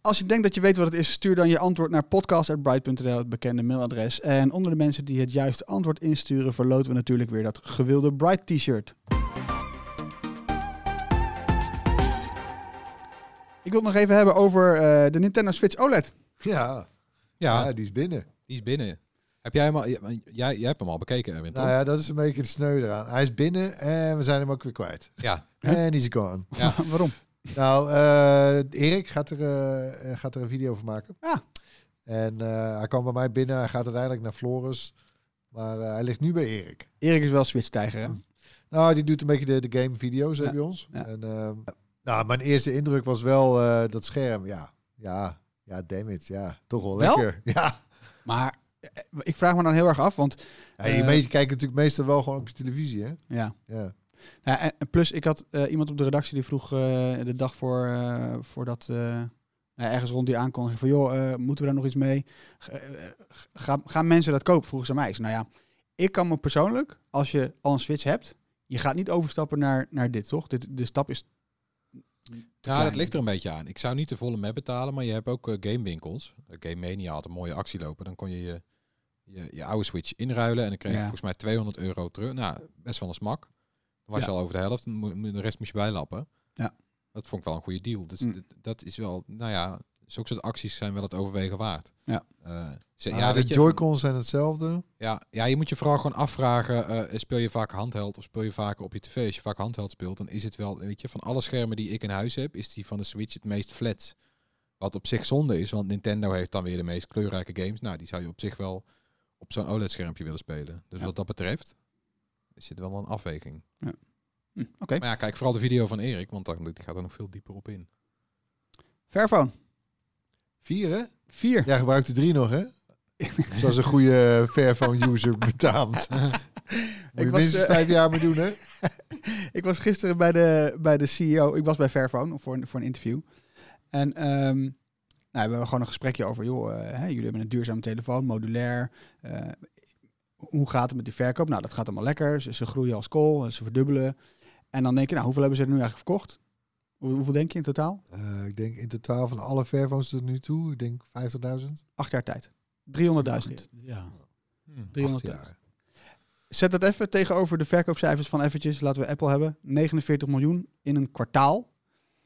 S3: Als je denkt dat je weet wat het is, stuur dan je antwoord naar podcast.bright.nl, het bekende mailadres. En onder de mensen die het juiste antwoord insturen, verloten we natuurlijk weer dat gewilde Bright T-shirt. Ik wil het nog even hebben over eh, de Nintendo Switch OLED.
S4: Ja,
S6: Ja,
S4: ja. die is binnen.
S6: die is binnen. Heb jij hem al, jij, jij jij hebt hem al bekeken, Erwin,
S4: Nou
S6: toch?
S4: ja, dat is een beetje het sneu eraan. Hij is binnen en we zijn hem ook weer kwijt.
S6: Ja.
S4: En he's gone.
S3: Waarom?
S4: Nou, eh, Erik gaat er, eh, gaat er een video van maken.
S3: Ja.
S4: En eh, hij kwam bij mij binnen. Hij gaat uiteindelijk naar Floris. Maar eh, hij ligt nu bij Erik.
S3: Erik is wel Switch-tijger, hè?
S4: Nou, die doet een beetje de, de game video's hè,
S3: Ja,
S4: bij ons.
S3: ja.
S4: En, eh, nou, mijn eerste indruk was wel eh, dat scherm. Ja, ja, ja, damn it. Ja, toch wel,
S3: Wel?
S4: lekker. Ja.
S3: Maar eh, ik vraag me dan heel erg af, want...
S4: ja je
S3: Eh.
S4: meest- kijkt natuurlijk meestal wel gewoon op je televisie, hè?
S3: Ja.
S4: Ja.
S3: Ja, en en plus, ik had eh, iemand op de redactie die vroeg eh, de dag voor, eh voordat eh, nou, ergens rond die aankondiging van joh, eh, moeten we daar nog iets mee? G- eh, g- Gaan, gaan mensen dat kopen? Vroegen ze aan mij. Ik zei, nou ja, ik kan me persoonlijk, als je al een switch hebt, je gaat niet overstappen naar, naar dit, toch? Dit, de stap is.
S6: Ja, dat
S3: klein.
S6: ligt er een beetje aan. Ik zou niet de volle map betalen, maar je hebt ook eh, gamewinkels. Eh, Game Mania had een mooie actie lopen. Dan kon je je, je, je oude Switch inruilen en dan kreeg je
S3: Ja.
S6: volgens mij 200 euro terug. Nou, best wel een smak. Dan was
S3: Ja.
S6: je al over de helft en mo- mo- de rest moest je bijlappen.
S3: Ja.
S6: Dat vond ik wel een goede deal. Dus
S3: Mm.
S6: d- dat is wel, nou ja, zulke soort acties zijn wel het overwegen waard.
S3: Ja.
S6: Eh, ze-
S4: Ah,
S6: ja,
S4: de
S6: weet je,
S4: Joy-Cons zijn hetzelfde.
S6: ja, ja, je moet je vooral gewoon afvragen, eh, speel je vaak handheld of speel je vaker op je tv? Als je vaak handheld speelt, dan is het wel, weet je, van alle schermen die ik in huis heb, is die van de Switch het meest flat. Wat op zich zonde is, want Nintendo heeft dan weer de meest kleurrijke games. Nou, die zou je op zich wel op zo'n OLED-schermpje willen spelen. Dus
S3: Ja.
S6: wat dat betreft, is het wel een afweging.
S3: Hm, Oké,
S6: Maar ja, kijk vooral de video van Erik, want dan die gaat er nog veel dieper op in.
S3: Fairphone.
S4: Vier, hè?
S3: Vier.
S4: Jij gebruikt de drie nog, hè? Zoals een goede eh, Fairphone-user betaamt. Moet
S3: Ik
S4: je
S3: was,
S4: minstens
S3: eh,
S4: vijf jaar mee doen, hè?
S3: ik was gisteren bij de, bij de CEO. Ik was bij Fairphone voor een, voor een interview. En ehm, nou, we hebben gewoon een gesprekje over, joh, eh, hè, jullie hebben een duurzame telefoon, modulair. Eh, hoe gaat het met die verkoop? Nou, dat gaat allemaal lekker. Ze, ze groeien als kool, eh, ze verdubbelen. En dan denk je, nou, hoeveel hebben ze er nu eigenlijk verkocht? Hoe- hoeveel denk je in totaal?
S4: Eh, ik denk in totaal van alle Fairphones tot nu toe, ik denk 50.000.
S3: Acht jaar tijd. 300.000.
S5: Ja.
S6: Hm.
S4: 8
S3: 300.
S4: jaar.
S3: Zet dat even tegenover de verkoopcijfers van eventjes, laten we Apple hebben. 49 miljoen in een kwartaal.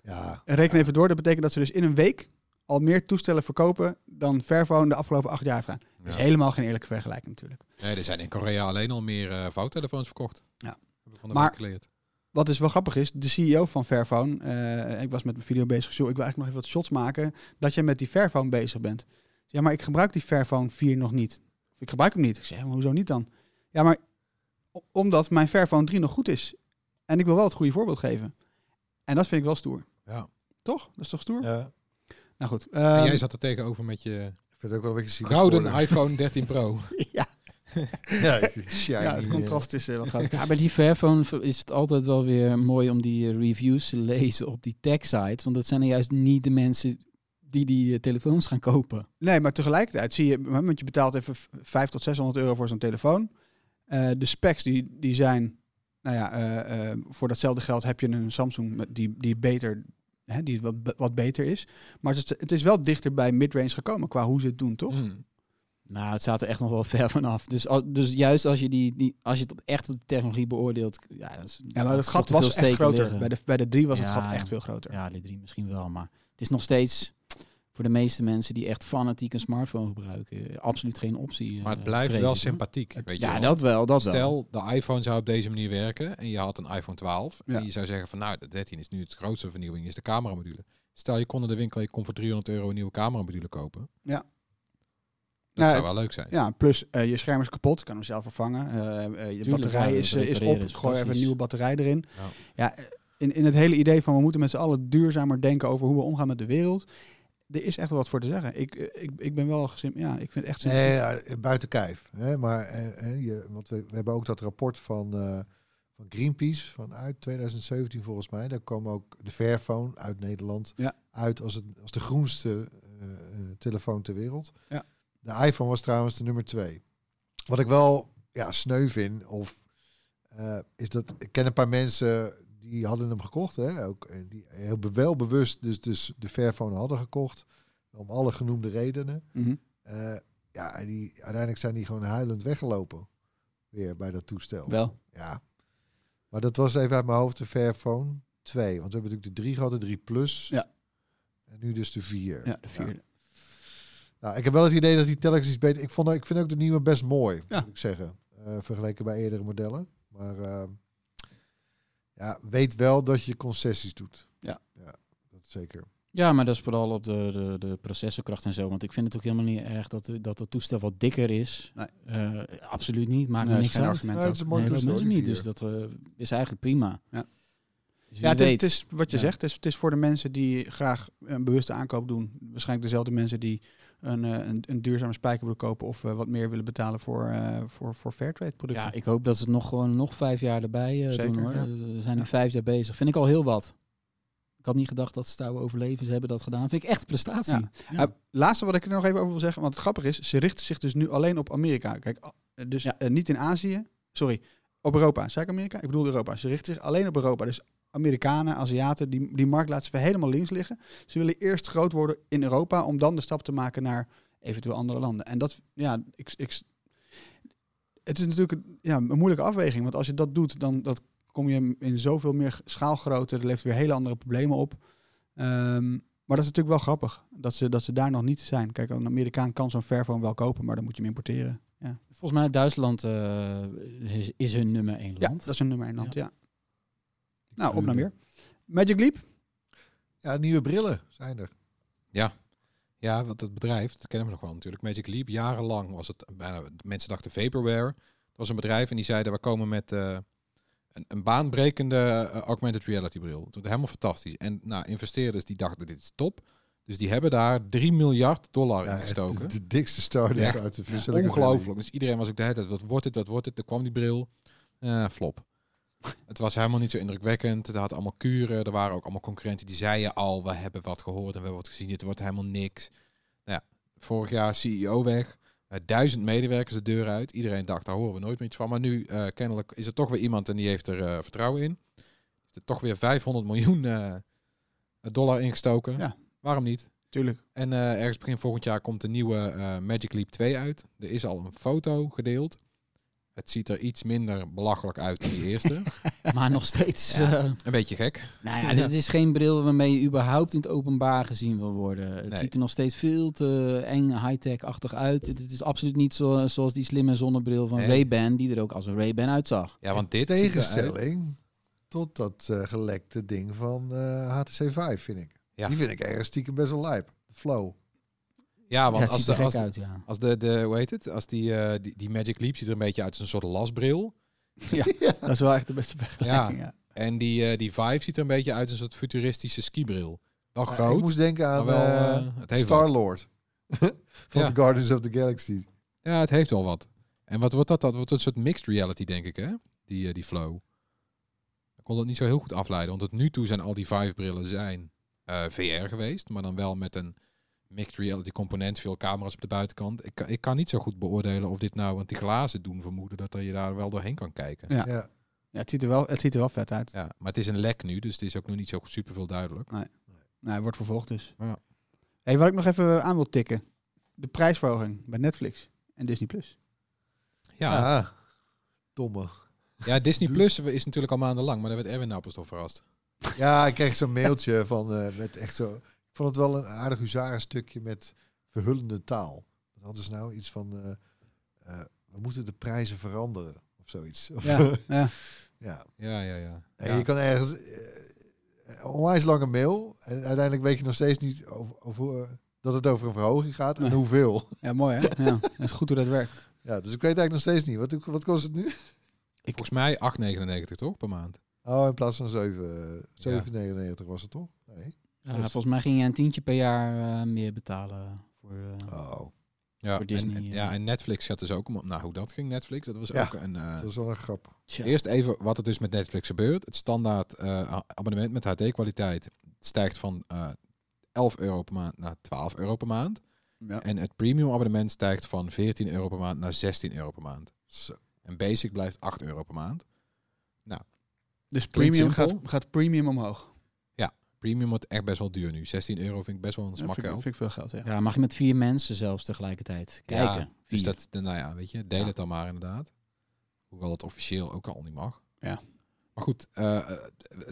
S4: Ja,
S3: En Reken even door, dat betekent dat ze dus in een week al meer toestellen verkopen dan Fairphone de afgelopen acht jaar heeft gedaan. Dat is
S6: Ja.
S3: helemaal geen eerlijke vergelijking natuurlijk.
S6: Nee, er zijn in Korea alleen al meer eh, vouwtelefoons verkocht.
S3: Ja.
S6: Hebben we van de
S3: Maar-
S6: week geleerd.
S3: Wat dus wel grappig is, de CEO van Fairphone, eh, ik was met mijn video bezig, zo, ik wil eigenlijk nog even wat shots maken, dat jij met die Fairphone bezig bent. Ja, maar ik gebruik die Fairphone 4 nog niet. Of Ik gebruik hem niet. Ik zeg, maar hoezo niet dan? Ja, maar o- omdat mijn Fairphone 3 nog goed is. En ik wil wel het goede voorbeeld geven. En dat vind ik wel stoer.
S6: Ja.
S3: Toch? Dat is toch stoer?
S4: Ja.
S3: Nou goed.
S6: En
S3: ehm,
S6: jij zat er tegenover met je
S4: Ik vind het ook wel een beetje zielig
S6: gouden
S4: worden.
S6: iPhone 13 Pro.
S3: ja,
S4: Ja, ik- shiny,
S3: ja, het
S4: eh.
S3: contrast is eh, wat groot.
S5: Ja, bij die Fairphone is het altijd wel weer mooi om die eh, reviews te lezen op die tech-sites. Want dat zijn er juist niet de mensen die die eh, telefoons gaan kopen.
S3: Nee, maar tegelijkertijd zie je, want je betaalt even 500 tot 600 euro voor zo'n telefoon. Eh, de specs die, die zijn, nou ja, eh, eh, voor datzelfde geld heb je een Samsung met- die, die beter, hè, die wat, be- wat beter is. Maar het is, het is wel dichter bij midrange gekomen qua hoe ze het doen, toch?
S6: Mm.
S5: Nou, het staat er echt nog wel ver vanaf. Dus, al- dus juist als je, die, die, als je het echt op de technologie beoordeelt... Ja, dat is,
S3: Ja, maar het
S5: dat
S3: gat
S5: te veel
S3: was echt
S5: steken
S3: groter.
S5: liggen.
S3: Bij de, bij de drie was het
S5: Ja.
S3: gat echt veel groter.
S5: Ja, de drie misschien wel. Maar het is nog steeds voor de meeste mensen die echt fanatiek een smartphone gebruiken... eh, absoluut geen optie. eh,
S6: Maar het blijft
S5: vrees
S6: wel
S5: ik, hoor.
S6: sympathiek. Weet je
S5: Ja,
S6: wel.
S5: dat wel, dat wel.
S6: Stel, de iPhone zou op deze manier werken en je had een iPhone 12.
S3: Ja.
S6: En je zou zeggen van nou, de 13 is nu het grootste vernieuwing, is de cameramodule. Stel, je kon naar de winkel en je kon voor 300 euro een nieuwe cameramodule kopen.
S3: Ja.
S6: Dat
S3: Nou,
S6: zou
S3: het-
S6: wel leuk zijn.
S3: Ja, plus eh, je scherm is kapot, kan hem zelf vervangen. Eh, eh, je
S5: Tuurlijk,
S3: batterij
S5: ja,
S3: is,
S5: dat
S3: eh, is
S5: repareren
S3: op,
S5: is
S3: gooi even een
S5: fantastisch.
S3: nieuwe batterij erin.
S6: Ja.
S3: Ja, eh, in, in het hele idee van we moeten met z'n allen duurzamer denken over hoe we omgaan met de wereld. Er is echt wel wat voor te zeggen. Ik, eh, ik, ik ben wel gezin. Ja, ik vind het echt zin.
S4: Nee, ja, eh, buiten kijf. Hè? Maar eh, eh, je, want we, we hebben ook dat rapport van, eh, van Greenpeace van uit 2017 volgens mij. Daar kwam ook de Fairphone uit Nederland
S3: Ja.
S4: uit als, het, als de groenste eh, eh, telefoon ter wereld.
S3: Ja.
S4: De iPhone was trouwens de nummer twee. Wat ik wel ja, sneu vind, of, eh, is dat ik ken een paar mensen die hadden hem gekocht. Hè? Ook, en die heel be- wel bewust dus, dus de Fairphone hadden gekocht. Om alle genoemde redenen.
S3: Mhm.
S4: Eh, ja, en die, uiteindelijk zijn die gewoon huilend weggelopen. Weer bij dat toestel.
S3: Wel.
S4: Ja. Maar dat was even uit mijn hoofd de Fairphone 2. Want we hebben natuurlijk de 3 gehad, de 3 Plus.
S3: Ja.
S4: En nu dus de 4.
S3: Ja, de vierde.
S4: Nou, ik heb wel het idee dat die telkens iets beter... Ik, vond, ik vind ook de nieuwe best mooi,
S3: Ja.
S4: moet ik zeggen. eh, vergeleken bij eerdere modellen. Maar eh, ja, weet wel dat je concessies doet.
S3: Ja.
S4: ja dat zeker.
S5: Ja, maar dat is vooral op de, de, de processorkracht en zo. Want ik vind het ook helemaal niet erg dat dat het toestel wat dikker is.
S3: Nee.
S5: Eh, absoluut niet, maakt
S3: Nee,
S5: me
S3: is
S5: niks
S3: geen
S5: uit.
S3: argument
S4: Nee, Nou, het is
S3: ook.
S4: een mooi
S5: Nee, dat
S4: toestel.
S5: is
S4: hoor, die
S5: niet, dus
S4: vier.
S5: dat eh, is eigenlijk prima.
S3: Ja.
S5: Dus
S3: Ja,
S5: wie
S3: het is,
S5: weet.
S3: het is wat je
S5: Ja.
S3: zegt. Het is, het is voor de mensen die graag een bewuste aankoop doen. Waarschijnlijk dezelfde mensen die een, eh, een, een duurzame spijkerbroek kopen of eh, wat meer willen betalen voor, eh voor, voor Fairtrade producten.
S5: Ja, ik hoop dat ze het nog gewoon nog vijf jaar erbij eh,
S3: Zeker,
S5: doen hoor.
S3: ja.
S5: Ze zijn nu
S3: Ja.
S5: vijf jaar bezig. Vind ik al heel wat. Ik had niet gedacht dat Stouwe Overlevens hebben dat gedaan. Vind ik echt prestatie.
S3: Ja. Eh, laatste wat ik er nog even over wil zeggen, want het grappige is, ze richten zich dus nu alleen op Amerika. Kijk, a- eh, dus
S5: Ja.
S3: eh, niet in Azië, sorry, op Europa. Zei ik Amerika? Ik bedoel Europa. Ze richten zich alleen op Europa. Dus Amerikanen, Aziaten, die, die markt laten ze helemaal links liggen. Ze willen eerst groot worden in Europa om dan de stap te maken naar eventueel andere landen. En dat, ja, ik, ik, het is natuurlijk een, ja, een moeilijke afweging, want als je dat doet, dan dat kom je in zoveel meer schaalgrootte. Dat levert weer hele andere problemen op. Ehm, maar dat is natuurlijk wel grappig dat ze, dat ze daar nog niet zijn. Kijk, een Amerikaan kan zo'n Fairphone wel kopen, maar dan moet je hem importeren.
S5: Volgens mij Duitsland eh, is, is hun nummer één
S3: Ja,
S5: land.
S3: dat is een nummer één land, ja. Nou, op naar meer. Magic Leap?
S4: Ja, nieuwe brillen zijn er.
S6: Ja, want dat bedrijf, dat kennen we nog wel natuurlijk. Magic Leap, jarenlang was het bijna, mensen dachten vaporware. Dat was een bedrijf en die zeiden, we komen met eh, een, een baanbrekende eh, augmented reality bril. Dat wordt helemaal fantastisch. En nou, investeerders die dachten, dit is top. Dus die hebben daar 3 miljard dollar in
S4: Ja, echt de,
S6: gestoken.
S4: de dikste start-up
S6: Echt
S4: uit de visselijke
S6: Ongelooflijk. Dus iedereen was ook de hele tijd, wat wordt het, wat wordt het? Er kwam die bril, Eh, flop. Het was helemaal niet zo indrukwekkend. Het had allemaal kuren. Er waren ook allemaal concurrenten die zeiden al, we hebben wat gehoord en we hebben wat gezien. Dit wordt helemaal niks. Nou ja, vorig jaar CEO weg. Eh, duizend medewerkers de deur uit. Iedereen dacht, daar horen we nooit meer iets van. Maar nu eh, kennelijk is er toch weer iemand en die heeft er eh, vertrouwen in. Heeft er toch weer 500 miljoen eh, dollar ingestoken.
S3: Ja.
S6: Waarom niet?
S3: Tuurlijk.
S6: En eh, ergens begin volgend jaar komt de nieuwe eh, Magic Leap 2 uit. Er is al een foto gedeeld. Het ziet er iets minder belachelijk uit dan die eerste.
S5: Maar nog steeds. eh,
S6: een beetje gek.
S5: nou ja, dit is geen bril waarmee je überhaupt in het openbaar gezien wil worden. Het
S6: Nee.
S5: ziet er nog steeds veel te eng, high-tech-achtig uit. Het is absoluut niet zo, zoals die slimme zonnebril van
S6: Nee.
S5: Ray-Ban, die er ook als een Ray-Ban uitzag.
S6: Ja, want
S4: wereld.
S6: dit ziet eruit-
S4: Tegenstelling tot dat eh, gelekte ding van eh, HTC 5, vind ik.
S6: Ja.
S4: Die vind ik ergens stiekem best wel lijp. Flow.
S6: Ja,
S5: Ja,
S6: want
S5: het
S6: als,
S5: ziet er
S6: de,
S5: gek
S6: als,
S5: uit, ja.
S6: als de, de, hoe heet het? Als die, eh, die, die Magic Leap ziet er een beetje uit als een soort lasbril.
S3: Dat is wel echt de beste
S6: Ja.
S3: vergelijking. Ja.
S6: En die, eh, die Vive ziet er een beetje uit als een soort futuristische skibril. Wel
S4: Maar
S6: groot,
S4: Ik moest denken
S6: maar
S4: aan
S6: wel...
S4: eh,
S6: eh, het heeft wat.
S4: Star-Lord. van
S6: Ja.
S4: Guardians of the Galaxy.
S6: Ja, het heeft wel wat. En wat wordt dat? Dat wordt een soort mixed reality, denk ik, hè? Die, eh, die flow. Ik kon dat niet zo heel goed afleiden. Want tot nu toe zijn al die Vive-brillen zijn eh, VR geweest. Maar dan wel met een mixed reality component. Veel camera's op de buitenkant. Ik, kan- ik kan niet zo goed beoordelen of dit nou... Want die glazen doen vermoeden dat je daar wel doorheen kan kijken.
S3: Ja.
S4: Ja. ja.
S3: Ja, het, ziet er wel, het ziet er wel vet uit.
S6: Ja, maar het is een lek nu, dus het is ook nog niet zo super veel duidelijk.
S3: Nou, hij wordt vervolgd dus.
S6: Ja.
S3: Hey, wat ik nog even aan wil tikken. De prijsverhoging bij Netflix en Disney+. Plus.
S6: Ja,
S4: Ah, domme.
S6: ja Disney Plus is natuurlijk al maandenlang, maar daar werd Erwin nou pas door verrast.
S4: Ja, ik kreeg zo'n mailtje van eh, met echt zo. Ik vond het wel een aardig huzarenstukje met verhullende taal. Dat hadden ze nou iets van. eh, eh, we moeten de prijzen veranderen of zoiets. Of,
S3: Ja, ja.
S4: ja.
S6: Ja, ja, ja.
S4: En Je kan ergens. eh, onwijs lange mail. En uiteindelijk weet je nog steeds niet over, over, eh, dat het over een verhoging gaat en
S3: Nee.
S4: hoeveel.
S3: Ja, mooi hè? Ja, dat is goed hoe dat werkt.
S4: Ja, dus ik weet eigenlijk nog steeds niet. Wat, wat kost het nu?
S6: Volgens mij 8,99 toch per maand?
S4: Oh, in plaats van 7, 7,99 was het toch? Nee.
S5: Ja,
S6: Dus-
S5: volgens mij ging je een tientje per jaar eh, meer betalen voor...
S6: Ah,
S5: eh,
S4: Oh,
S6: Ja,
S5: Voor Disney,
S6: en, en-
S5: ja.
S6: ja, en Netflix gaat dus ook om. Nou, hoe dat ging, Netflix, dat was
S4: Ja.
S6: ook een. eh,
S4: dat was wel een grap.
S5: tja.
S6: Eerst even wat er dus met Netflix gebeurt. Het standaard eh, a- abonnement met HD-kwaliteit stijgt van eh 11 euro per maand naar 12 euro per maand.
S3: Ja.
S6: En het premium abonnement stijgt van 14 euro per maand naar 16 euro per maand.
S4: Zo.
S6: En basic blijft 8 euro per maand.
S3: Dus
S6: Klinkt
S3: premium gaat,
S6: simpel.
S3: gaat premium omhoog.
S6: Premium wordt echt best wel duur nu. 16 euro vind ik best wel een
S3: Dat
S6: smak
S3: vind, ik-
S6: geld.
S3: vind ik veel geld, ja.
S5: Ja, mag je met vier mensen zelfs tegelijkertijd
S6: Ja,
S5: kijken.
S6: Dus
S5: Vier.
S6: dat, nou ja, weet je, deel
S5: Ja.
S6: het dan maar inderdaad. Hoewel het officieel ook al niet mag.
S3: Ja.
S6: Maar goed, eh, eh,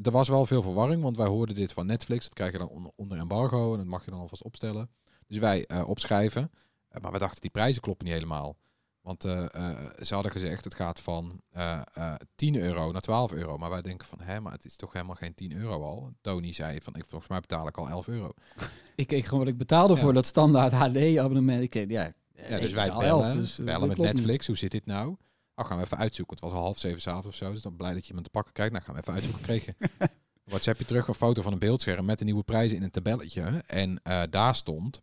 S6: er was wel veel verwarring, want wij hoorden dit van Netflix. Dat krijg je dan on- onder embargo en dat mag je dan alvast opstellen. Dus wij eh, opschrijven. Eh, maar we dachten, die prijzen kloppen niet helemaal. Want eh, eh, ze hadden gezegd, het gaat van eh, eh, 10 euro naar 12 euro. Maar wij denken van, hè, maar het is toch helemaal geen 10 euro al. Tony zei van, ik, volgens mij betaal ik al 11 euro.
S5: Ik keek gewoon wat ik betaalde
S6: Ja.
S5: voor dat standaard HD-abonnement. Ik keek, ja, eh,
S6: Ja,
S5: ik
S6: dus wij
S5: betaal
S6: bellen,
S5: elf, dus, eh,
S6: bellen
S5: dat
S6: met
S5: klopt
S6: Netflix. Hoe zit dit nou? Oh, gaan we even uitzoeken. Het was al half zeven s'avonds of zo. Dus dan blij dat je iemand te pakken krijgt. Nou, gaan we even uitzoeken. Kregen WhatsApp je terug een foto van een beeldscherm met de nieuwe prijzen in een tabelletje. En eh, daar stond,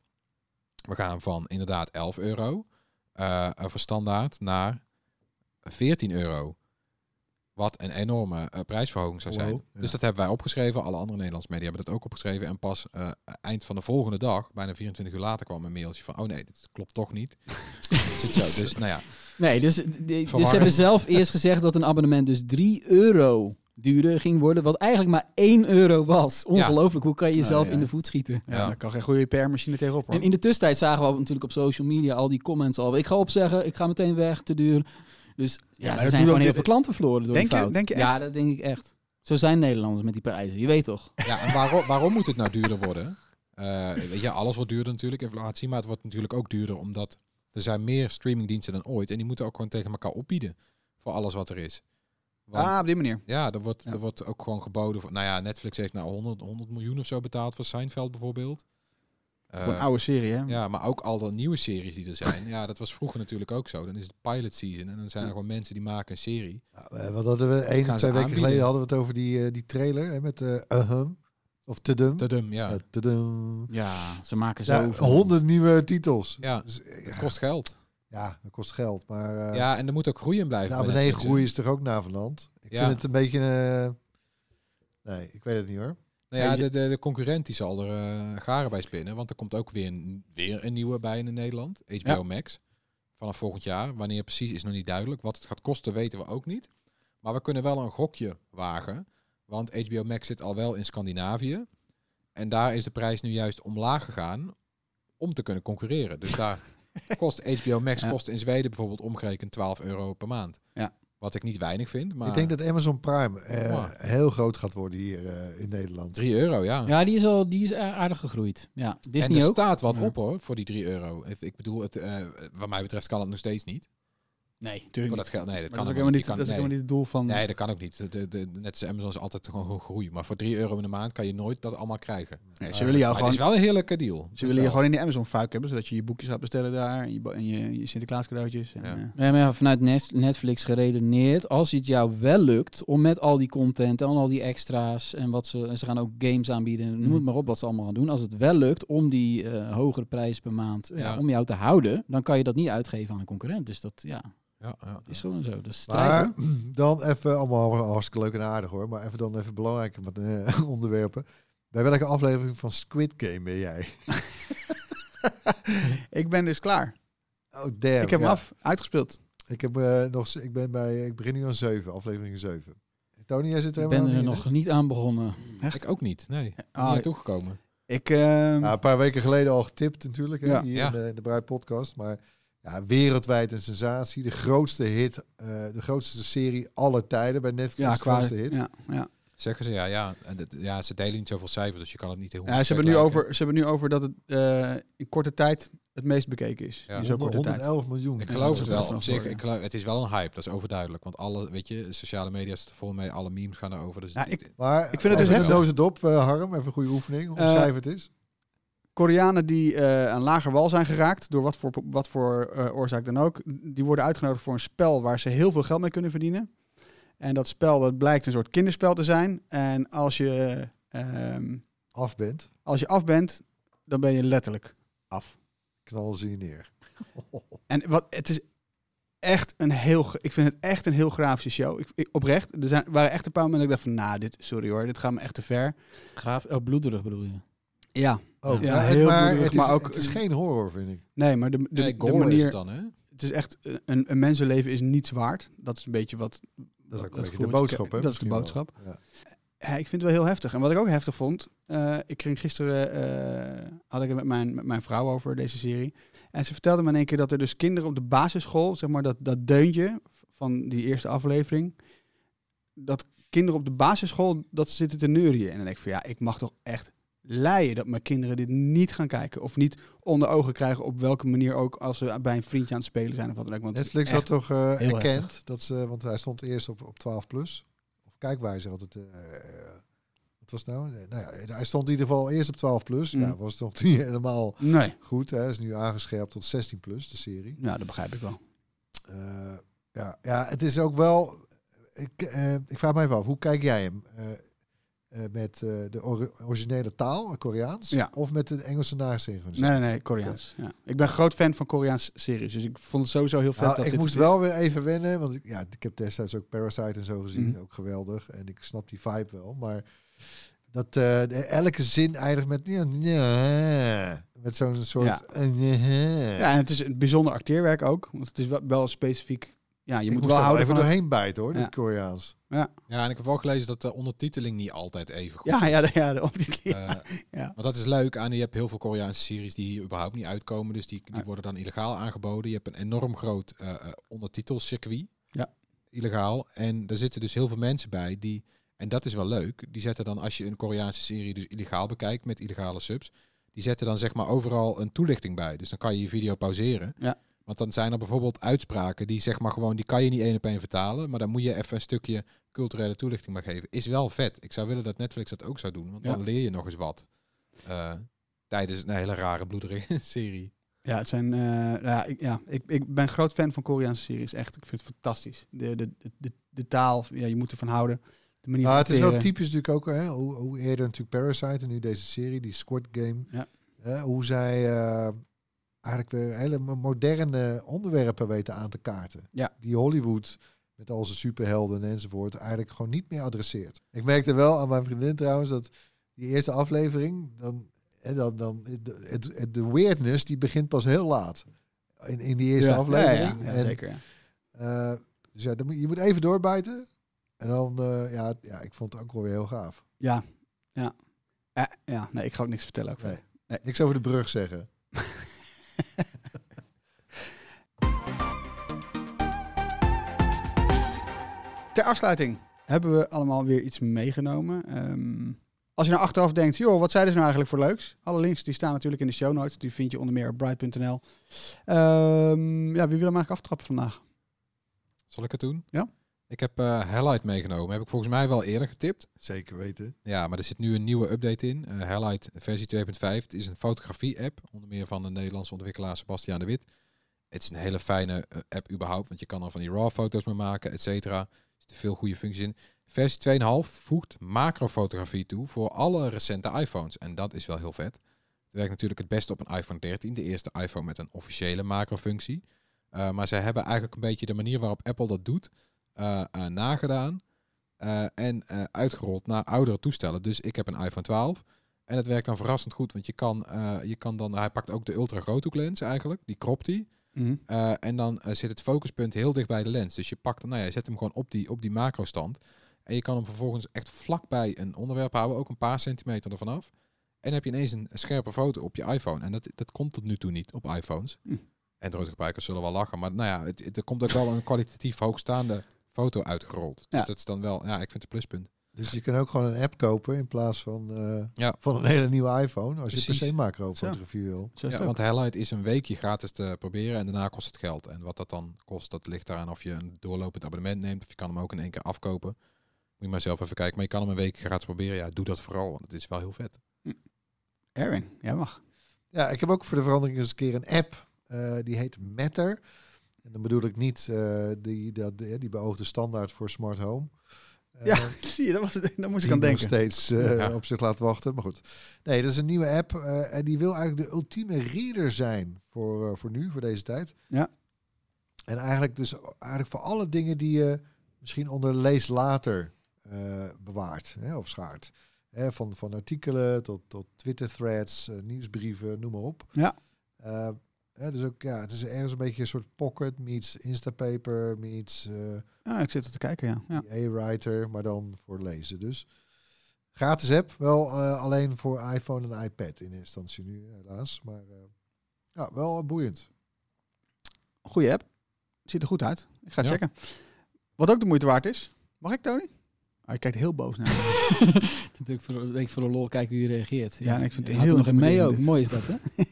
S6: we gaan van inderdaad 11 euro eh, voor standaard naar 14 euro. Wat een enorme eh, prijsverhoging zou zijn.
S4: Wow, ja.
S6: Dus dat hebben wij opgeschreven. Alle andere Nederlandse media hebben dat ook opgeschreven. En pas eh, eind van de volgende dag, bijna 24 uur later, kwam een mailtje van... oh nee, dit klopt toch niet. het zit zo. Dus nou ja,
S5: Nee, dus, de- dus ze
S6: Verwarring.
S5: hebben zelf eerst gezegd dat een abonnement dus 3 euro duurder ging worden, wat eigenlijk maar 1 euro was. Ongelooflijk, hoe kan je jezelf
S3: ja.
S5: in de voet schieten?
S3: Ja,
S6: Ja.
S3: daar kan geen goede PR-machine tegenop. Hoor.
S5: En in de tussentijd zagen we natuurlijk op social media al die comments al. Ik ga opzeggen, ik ga meteen weg, te duur. Dus ja,
S3: maar
S5: er
S3: dat
S5: zijn
S3: doet ook
S5: gewoon
S3: de-
S5: heel veel klanten verloren door
S3: Denk
S5: die
S3: je-
S5: fout.
S3: denk je
S5: Ja,
S3: echt?
S5: dat denk ik echt. Zo zijn Nederlanders met die prijzen, je weet toch?
S6: Ja, en waarom, waarom moet het nou duurder worden? Eh, weet je, alles wordt duurder natuurlijk, inflatie, maar het wordt natuurlijk ook duurder omdat er zijn meer streamingdiensten dan ooit en die moeten ook gewoon tegen elkaar opbieden voor alles wat er is. Want,
S3: ah, op die manier.
S6: Ja, er wordt,
S5: Ja.
S6: er wordt ook gewoon geboden voor, nou ja, Netflix heeft nou 100, 100 miljoen of zo betaald voor Seinfeld bijvoorbeeld. Eh,
S3: Gewoon oude serie, hè?
S6: ja, maar ook al de nieuwe series die er zijn. Ja, dat was vroeger natuurlijk ook zo. Dan is het pilot season en dan zijn er gewoon mensen die maken een serie.
S4: Nou, eh, wat hadden we één
S6: gaan
S4: of twee
S6: ze
S4: weken
S6: aanbieden.
S4: geleden hadden we het over die, eh, die trailer hè, met eh Ahem of Tudum.
S6: Tadum, ja.
S4: Ja, Tudum.
S5: Ja, ze maken zo...
S4: Ja, honderd nieuwe titels.
S6: Ja,
S4: Dus, eh,
S6: het
S4: ja,
S6: kost geld.
S4: ja, dat kost geld, maar eh
S6: Ja, en er moet ook groei in blijven.
S4: de
S6: bij Netflix, hè.
S4: abonneegroei is toch ook navenant. Ik
S6: eh, Ja.
S4: vind het een beetje... eh, nee, ik weet het niet hoor.
S6: Nou ja,
S5: Weet je-
S6: de, de, de concurrent die zal er eh, garen bij spinnen. Want er komt ook weer een, weer een nieuwe bij in Nederland. HBO
S3: Ja.
S6: Max. Vanaf volgend jaar. Wanneer precies is nog niet duidelijk. Wat het gaat kosten weten we ook niet. Maar we kunnen wel een gokje wagen. Want HBO Max zit al wel in Scandinavië. En daar is de prijs nu juist omlaag gegaan. Om te kunnen concurreren. Dus daar kost HBO Max
S3: Ja.
S6: kost in Zweden bijvoorbeeld omgerekend 12 euro per maand.
S3: Ja.
S6: Wat ik niet weinig vind. Maar
S4: Ik denk dat Amazon Prime eh,
S6: Ja.
S4: heel groot gaat worden hier eh, in Nederland.
S6: 3 euro,
S5: Ja, die is al die is a- aardig gegroeid. Ja, Disney
S6: en er
S5: ook.
S6: staat wat
S5: Ja.
S6: op hoor, voor die 3 euro. Ik- Ik bedoel, het, eh, wat mij betreft kan het nog steeds niet.
S5: Nee.
S3: Natuurlijk
S6: Voor
S3: niet.
S6: dat geld, nee, dat
S3: Maar
S6: kan
S3: dat is ook helemaal niet,
S6: helemaal Je
S3: dat
S6: kan-
S3: is ook helemaal
S6: nee.
S3: niet het doel van...
S6: Nee, dat kan ook niet. De, de, de- net als Amazon is altijd gewoon hoog groei. Maar voor 3 euro in de maand kan je nooit dat allemaal krijgen.
S3: Nee, ze willen jou
S6: Maar het
S3: gewoon...
S6: is wel een heerlijke deal.
S3: Ze willen je
S6: Wel.
S3: gewoon in de Amazon-fuik hebben, zodat je je boekjes gaat bestellen daar en je, bo- en je, je Sinterklaas cadeautjes. En,
S6: Ja.
S3: eh,
S5: Ja, maar ja, vanuit Nes- Netflix geredeneerd, als het jou wel lukt om met al die content en al die extra's en wat ze, en ze gaan ook games aanbieden, noem het maar op wat ze allemaal gaan doen. Als het wel lukt om die eh, hogere prijs per maand, ja,
S6: Ja.
S5: om jou te houden, dan kan je dat niet uitgeven aan een concurrent. Dus dat, ja,
S6: Ja, ja.
S5: is gewoon zo. Dat is strijd, hoor.
S4: Maar dan even, allemaal hartstikke leuk en aardig hoor, maar even dan even belangrijke met, eh, onderwerpen. Bij welke aflevering van Squid Game ben jij?
S3: Ik ben dus klaar.
S4: Oh damn.
S3: ik heb
S4: ja.
S3: hem af, uitgespeeld.
S4: Ik, heb, eh, nog, z- ik, ben bij, ik begin nu aan 7, aflevering 7. Tony, jij zit er
S5: Ik
S4: helemaal
S5: ben er
S4: niet in,
S5: nog niet aan begonnen.
S6: Ik ook niet. Nee.
S3: Ah,
S6: niet toegekomen.
S3: Ik, ehm,
S4: hè? Ja, een paar weken geleden al getipt natuurlijk, hè,
S3: Ja.
S4: hier
S6: Ja.
S4: in de, in de Bruid podcast. Maar ja, wereldwijd een sensatie. De grootste hit, eh, de grootste serie aller tijden bij Netflix.
S3: ja,
S4: de
S3: qua...
S4: grootste hit.
S3: Ja, ja.
S6: Zeggen ze ja, ja. En dat- ja, ze delen niet zoveel cijfers, dus je kan het niet heel
S3: Ja,
S6: goed
S3: ze, hebben nu
S6: vergelijken.
S3: over, ze hebben nu over dat het eh, in korte tijd het meest bekeken is.
S6: Ja.
S3: In zo'n
S4: Honderd-
S3: korte tijd.
S4: 111 miljoen.
S6: Ik
S3: Ja,
S6: geloof
S3: dat
S6: het
S3: is
S6: wel.
S3: wel
S6: Op
S3: voor,
S6: zich,
S3: ja.
S6: ik geloof, het is wel een hype, dat is overduidelijk. Want alle, weet je, sociale media zitten vol mee, alle memes gaan erover. Dus
S3: Ja,
S6: het-
S4: Maar
S3: Ik vind het dus
S4: even
S3: heftig.
S4: de doos het op, eh, Harm. Even een goede oefening.
S3: Eh,
S4: Omschrijf het eens.
S3: Koreanen die eh, aan lager wal zijn geraakt, door wat voor, wat voor eh, oorzaak dan ook, die worden uitgenodigd voor een spel waar ze heel veel geld mee kunnen verdienen. En dat spel dat blijkt een soort kinderspel te zijn. En als je, ehm,
S4: Af bent,
S3: als je af bent, dan ben je letterlijk af.
S4: knallen ze je neer.
S3: En wat, het is echt een heel, ge- ik vind het echt een heel grafische show. Ik, ik- oprecht, er zijn, waren echt een paar momenten dat ik dacht van, nou, dit, sorry hoor, dit gaat me echt te ver.
S5: Graaf, oh, bloederig bedoel je.
S3: Ja.
S4: Oh,
S3: Ja,
S4: ja, het-
S3: heel
S4: maar,
S3: bloederig,
S4: het is,
S3: maar ook-
S4: het is geen horror, vind ik.
S3: Nee, maar de, de,
S6: nee,
S3: de
S6: gore is het
S3: manier,
S6: dan, hè?
S3: het is echt, eh, een, een mensenleven is niets waard. Dat is een beetje wat...
S4: Dat is ook een
S3: gevoel
S4: beetje
S3: wat
S4: de
S3: je
S4: boodschap,
S3: krijgt.
S4: hè?
S3: Dat is de
S4: misschien wel.
S3: boodschap.
S4: Ja.
S3: Ja, ik vind het wel heel heftig. En wat ik ook heftig vond, eh, ik kreeg gisteren, eh, had ik het met mijn, met mijn vrouw over deze serie. En ze vertelde me in één keer dat er dus kinderen op de basisschool, zeg maar dat, dat deuntje van die eerste aflevering, dat kinderen op de basisschool, dat ze zitten te neurien. En dan denk ik van ja, ik mag toch echt leien dat mijn kinderen dit niet gaan kijken. Of niet onder ogen krijgen op welke manier ook als ze bij een vriendje aan het spelen zijn of wat dan ook. Want
S4: Netflix
S3: echt-
S4: had toch eh,
S3: heel
S4: erkend dat ze, want hij stond eerst op, op 12 plus. Of kijkwijzer had het. eh, wat was het nou? Eh, Nou ja, hij stond in ieder geval eerst op 12 plus.
S3: Mhm.
S4: Ja, was het nog niet helemaal
S3: Nee,
S4: goed. Hij is nu aangescherpt tot 16 plus, de serie.
S3: nou dat begrijp ik wel.
S4: Eh, ja, ja, het is ook wel. Ik, eh, ik vraag me even af, hoe kijk jij hem? Eh, eh, met eh, de ori- originele taal, eh, Koreaans,
S3: Ja.
S4: of met de Engelse nasynchronisatie?
S3: Nee, nee, nee, Koreaans. Ja. Ik ben groot fan van Koreaans series, dus ik vond het sowieso heel vet.
S4: Nou,
S3: dat
S4: ik
S3: dit
S4: moest wel weer even wennen, want ik, ja, ik heb destijds ook Parasite en zo gezien,
S3: Mhm.
S4: ook geweldig. En ik snap die vibe wel, maar dat eh, de- elke zin eindigt met ja, ja, met zo'n soort
S3: Ja.
S4: eh, ja.
S3: Ja, en het is een bijzonder acteerwerk ook, want het is wel, wel specifiek. Ja, je
S4: Je
S3: moet
S4: moet
S3: wel
S4: daar wel
S3: houden
S4: even
S3: van. het-
S4: doorheen bijten hoor,
S3: Ja.
S4: dit Koreaans.
S6: Ja, en ik heb wel gelezen dat de ondertiteling niet altijd even goed
S3: Ja, ja, de- ja, de ondertiteling.
S6: Eh,
S3: ja.
S6: Want dat is leuk. En je hebt heel veel Koreaanse series die hier überhaupt niet uitkomen. Dus die, die
S3: Nee.
S6: worden dan illegaal aangeboden. Je hebt een enorm groot eh eh, ondertitelcircuit.
S5: Ja.
S6: Illegaal. En daar zitten dus heel veel mensen bij die... En dat is wel leuk. Die zetten dan, als je een Koreaanse serie dus illegaal bekijkt met illegale subs... Die zetten dan zeg maar overal een toelichting bij. Dus dan kan je je video pauzeren.
S5: Ja.
S6: Want dan zijn er bijvoorbeeld uitspraken die zeg maar gewoon... Die kan je niet één op één vertalen. Maar dan moet je even een stukje culturele toelichting bij geven. Is wel vet. Ik zou willen dat Netflix dat ook zou doen. Want
S5: Ja.
S6: dan leer je nog eens wat. Eh, tijdens een hele rare bloederige serie.
S3: ja, het zijn. eh, ja, ik, ja ik, ik ben groot fan van Koreaanse series, echt. Ik vind het fantastisch. De, de, de, de, de taal, ja, je moet ervan houden. De manier
S4: Nou,
S3: van
S4: het is wel
S3: acteren.
S4: typisch natuurlijk ook, hè, hoe, hoe eerder natuurlijk Parasite en nu deze serie, die Squid Game.
S5: Ja.
S4: hè, hoe zij eh, eigenlijk weer hele mo- moderne onderwerpen weten aan te kaarten.
S3: Ja.
S4: Die Hollywood met al zijn superhelden enzovoort eigenlijk gewoon niet meer adresseert. Ik merkte wel aan mijn vriendin trouwens dat die eerste aflevering, dan, hè, dan, dan de, het- het- de weirdness die begint pas heel laat. In, in die eerste
S3: Ja,
S4: aflevering.
S3: Ja, ja, ja,
S4: En
S3: zeker. ja.
S4: eh, dus ja, dan moet, je moet even doorbijten. En dan, eh, ja, ja, ik vond het ook wel weer heel gaaf.
S3: Ja, ja. Eh, ja, nee, ik ga ook niks vertellen over.
S4: Nee. Niks over de brug zeggen.
S3: Ter afsluiting hebben we allemaal weer iets meegenomen. Ehm, als je nou achteraf denkt, joh, wat zeiden ze nou eigenlijk voor leuks? Alle links die staan natuurlijk in de show notes. Die vind je onder meer op bright.nl. Ehm, ja, wie wil hem eigenlijk aftrappen vandaag?
S6: Zal ik het doen?
S3: Ja.
S6: Ik heb eh Highlight meegenomen. Heb ik volgens mij wel eerder getipt.
S4: Zeker weten.
S6: Ja, maar er zit nu een nieuwe update in. Eh, Highlight versie 2.5. Het is een fotografie-app, onder meer van de Nederlandse ontwikkelaar Sebastiaan de Wit. Het is een hele fijne eh, app überhaupt, want je kan er van die RAW-foto's mee maken, et cetera. Er zitten veel goede functies in. Versie 2.5 voegt macrofotografie toe voor alle recente iPhones. En dat is wel heel vet. Het werkt natuurlijk het beste op een iPhone 13, de eerste iPhone met een officiële macrofunctie. Eh, maar zij hebben eigenlijk een beetje de manier waarop Apple dat doet eh, eh, nagedaan. Eh, en eh, uitgerold naar oudere toestellen. Dus ik heb een iPhone 12. En het werkt dan verrassend goed, want je kan, eh, je kan dan, hij pakt ook de ultra groothoek lens eigenlijk, die kropt hij.
S3: Mhm.
S6: Eh, en dan eh, zit het focuspunt heel dicht bij de lens. Dus je pakt, nou ja, je zet hem gewoon op die, op die macro stand. En je kan hem vervolgens echt vlakbij een onderwerp houden, ook een paar centimeter ervan af. En heb je ineens een scherpe foto op je iPhone. En dat, dat komt tot nu toe niet op iPhones.
S5: Hm.
S6: Android-gebruikers zullen wel lachen, maar nou ja, het, het- er komt ook wel een kwalitatief hoogstaande foto uitgerold. Dus
S5: Ja.
S6: dat is dan wel, ja, ik vind het een pluspunt.
S4: Dus je kan ook gewoon een app kopen in plaats van, eh,
S6: Ja.
S4: van een hele nieuwe iPhone. Als je
S6: Precies.
S4: per se macrofotografie wil.
S3: Zo is het
S6: Ja,
S3: ook.
S6: want Highlight is een weekje gratis te proberen en daarna kost het geld. En wat dat dan kost, dat ligt eraan of je een doorlopend abonnement neemt of je kan hem ook in één keer afkopen. Moet je maar zelf even kijken. Maar je kan hem een week gratis proberen. Ja, doe dat vooral, want het is wel heel vet.
S5: Erwin, jij mag.
S4: Ja, ik heb ook voor de verandering eens een keer een app. eh, die heet Matter. En dan bedoel ik niet eh, die, dat, die, die beoogde standaard voor smart home. Eh,
S3: Ja, zie je, daar, was, daar moest ik
S4: die
S3: aan
S4: nog
S3: denken.
S4: steeds eh,
S6: Ja.
S4: op zich laat wachten. Maar goed. Nee, dat is een nieuwe app. eh, en die wil eigenlijk de ultieme reader zijn voor, eh, voor nu, voor deze tijd.
S5: Ja.
S4: En eigenlijk dus eigenlijk voor alle dingen die je misschien onder lees later eh, bewaart hè, of schaart. Hè, van, van artikelen tot, tot Twitter-threads, eh, nieuwsbrieven, noem maar op.
S3: Ja.
S4: Eh, hè, dus ook, ja, het is ergens een beetje een soort pocket meets Instapaper meets... eh,
S3: Ah, ik zit er te kijken, ja. ja.
S4: A-Writer, maar dan voor lezen dus. Gratis app, wel eh, alleen voor iPhone en iPad in instantie nu, helaas. Maar eh, ja, wel boeiend.
S3: Goeie app. Ziet er goed uit. Ik ga het
S6: Ja.
S3: checken. Wat ook de moeite waard is. Mag ik, Tony? Hij kijkt heel boos naar me.
S5: Dat doe ik voor, dat doe ik voor de lol kijken wie reageert.
S3: Ja, en ik vind het
S5: Je houdt er
S3: heel
S5: nog in mee ook.
S3: intimiderend,
S5: Mooi is dat, hè?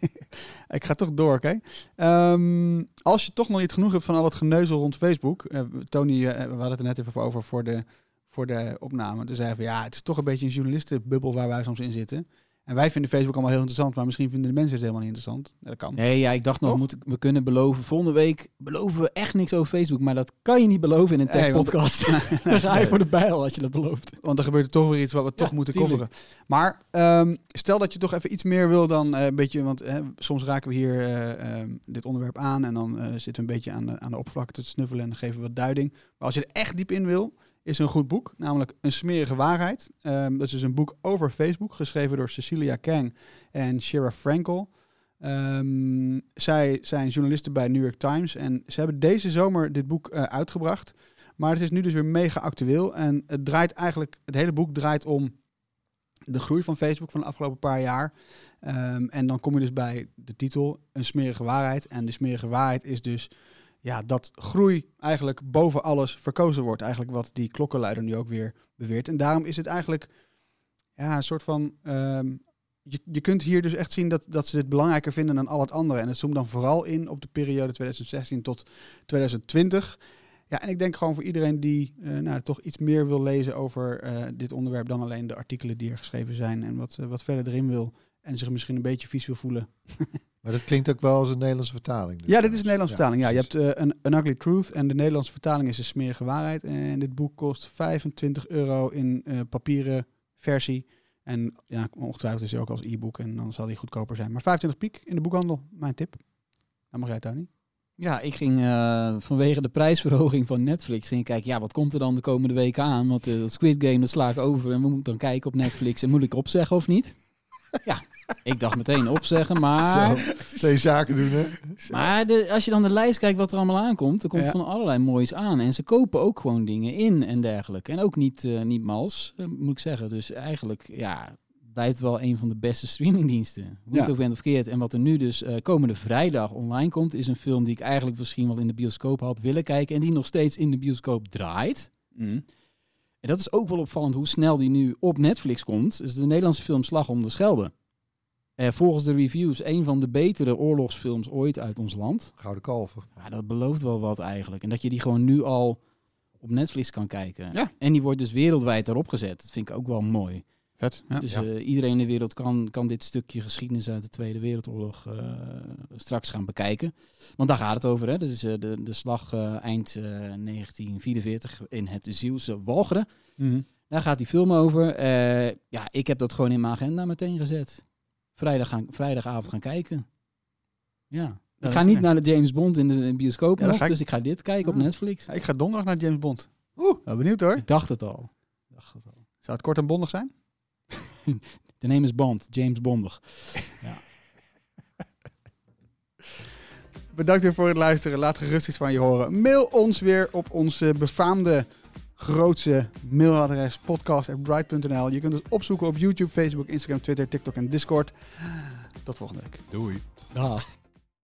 S3: ik ga toch door, oké? Ehm, als je toch nog niet genoeg hebt van al het geneuzel rond Facebook. eh, Tony, eh, we hadden het er net even over voor de, voor de opname. Toen zei hij van ja, het is toch een beetje een journalistenbubbel waar wij soms in zitten. En wij vinden Facebook allemaal heel interessant, maar misschien vinden de mensen het helemaal niet interessant. Ja, dat kan.
S5: Nee, ja, ik dacht nog,
S3: Toch?
S5: moet, ik- we kunnen beloven. Volgende week beloven we echt niks over Facebook. Maar dat kan je niet beloven in een
S3: Nee, want-
S5: tech-podcast. Dan ga je voor de bijl als je dat belooft.
S3: Want er gebeurt er toch weer iets wat we toch moeten
S5: tuurlijk.
S3: coveren. Maar ehm, stel dat je toch even iets meer wil dan eh, een beetje... Want hè, soms raken we hier eh, ehm, dit onderwerp aan... en dan eh, zitten we een beetje aan de, aan de oppervlakte te snuffelen... en geven we wat duiding. Maar als je er echt diep in wil, is er een goed boek. Namelijk Een smerige waarheid. Ehm, dat is dus een boek over Facebook... geschreven door Cecilia Kang en Shira Frankel. Ehm, zij zijn journalisten bij New York Times... en ze hebben deze zomer dit boek eh, uitgebracht... Maar het is nu dus weer mega actueel. En het draait eigenlijk, het hele boek draait om de groei van Facebook van de afgelopen paar jaar. Ehm, en dan kom je dus bij de titel Een smerige waarheid. En de smerige waarheid is dus ja, dat groei eigenlijk boven alles verkozen wordt. Eigenlijk wat die klokkenluider nu ook weer beweert. En daarom is het eigenlijk ja, een soort van. ehm, je, je kunt hier dus echt zien dat, dat ze dit belangrijker vinden dan al het andere. En het zoomt dan vooral in op de periode 2016 tot 2020. Ja, en ik denk gewoon voor iedereen die eh, nou, toch iets meer wil lezen over eh, dit onderwerp dan alleen de artikelen die er geschreven zijn en wat, eh, wat verder erin wil en zich misschien een beetje vies wil voelen.
S4: Maar dat klinkt ook wel als een Nederlandse vertaling. dus.
S3: Ja, dit is een Nederlandse vertaling. Ja, je
S4: precies.
S3: hebt eh, een, een Ugly Truth en de Nederlandse vertaling is een smerige waarheid. En dit boek kost 25 euro in eh, papieren versie. En ja, ongetwijfeld is hij ook als e-book en dan zal die goedkoper zijn. Maar 25 piek in de boekhandel, mijn tip. Dan mag jij het niet.
S5: Ja, ik ging eh, vanwege de prijsverhoging van Netflix ging ik kijken, ja, wat komt er dan de komende weken aan? Want eh, dat Squid Game, dat sla ik over en we moeten dan kijken op Netflix. En moet ik opzeggen of niet? Ja, ik dacht meteen opzeggen, maar,
S4: Zo, twee zaken doen, hè?
S5: maar de, als je dan de lijst kijkt wat er allemaal aankomt, er komt
S3: Ja.
S5: van allerlei moois aan. En ze kopen ook gewoon dingen in en dergelijke. En ook niet, eh, niet mals, eh, moet ik zeggen. Dus eigenlijk, ja, blijft wel een van de beste streamingdiensten. Hoe
S3: Ja.
S5: het ook bent of keert. En wat er nu dus eh, komende vrijdag online komt, is een film die ik eigenlijk misschien wel in de bioscoop had willen kijken. En die nog steeds in de bioscoop draait.
S3: Mhm.
S5: En dat is ook wel opvallend hoe snel die nu op Netflix komt. Is de Nederlandse film Slag om de Schelde. Eh, volgens de reviews een van de betere oorlogsfilms ooit uit ons land.
S4: Gouden kalver.
S5: Ja, dat belooft wel wat eigenlijk. En dat je die gewoon nu al op Netflix kan kijken.
S6: Ja.
S5: En die wordt dus wereldwijd erop gezet. Dat vind ik ook wel mooi.
S3: Vet. Ja.
S5: Dus eh, iedereen in de wereld kan, kan dit stukje geschiedenis uit de Tweede Wereldoorlog eh, straks gaan bekijken. Want daar gaat het over. Hè? Dat is eh, de, de slag eh, eind eh, 1944 in het Zielse Walcheren.
S3: Mhm.
S5: Daar gaat die film over. Eh, ja, ik heb dat gewoon in mijn agenda meteen gezet. Vrijdag gaan, vrijdagavond gaan kijken. Ja. Ik
S3: dat
S5: ga
S3: is
S5: niet
S3: leuk.
S5: naar de James Bond in de in de bioscoop
S3: Ja, dan
S5: nog,
S3: ga ik-
S5: dus ik ga dit kijken op
S3: Ah.
S5: Netflix.
S3: Ja, ik ga donderdag naar James Bond. Oeh, wel benieuwd hoor.
S5: Ik dacht het al. Ik dacht het al.
S3: Zou het kort en bondig zijn?
S5: De name is Bond, James Bondig.
S3: Bedankt weer voor het luisteren. Laat gerust iets van je horen. Mail ons weer op ons eh, befaamde grootste mailadres podcast@bright.nl. Je kunt ons opzoeken op YouTube, Facebook, Instagram, Twitter, TikTok en Discord. Tot volgende week.
S6: Doei.
S5: Ah.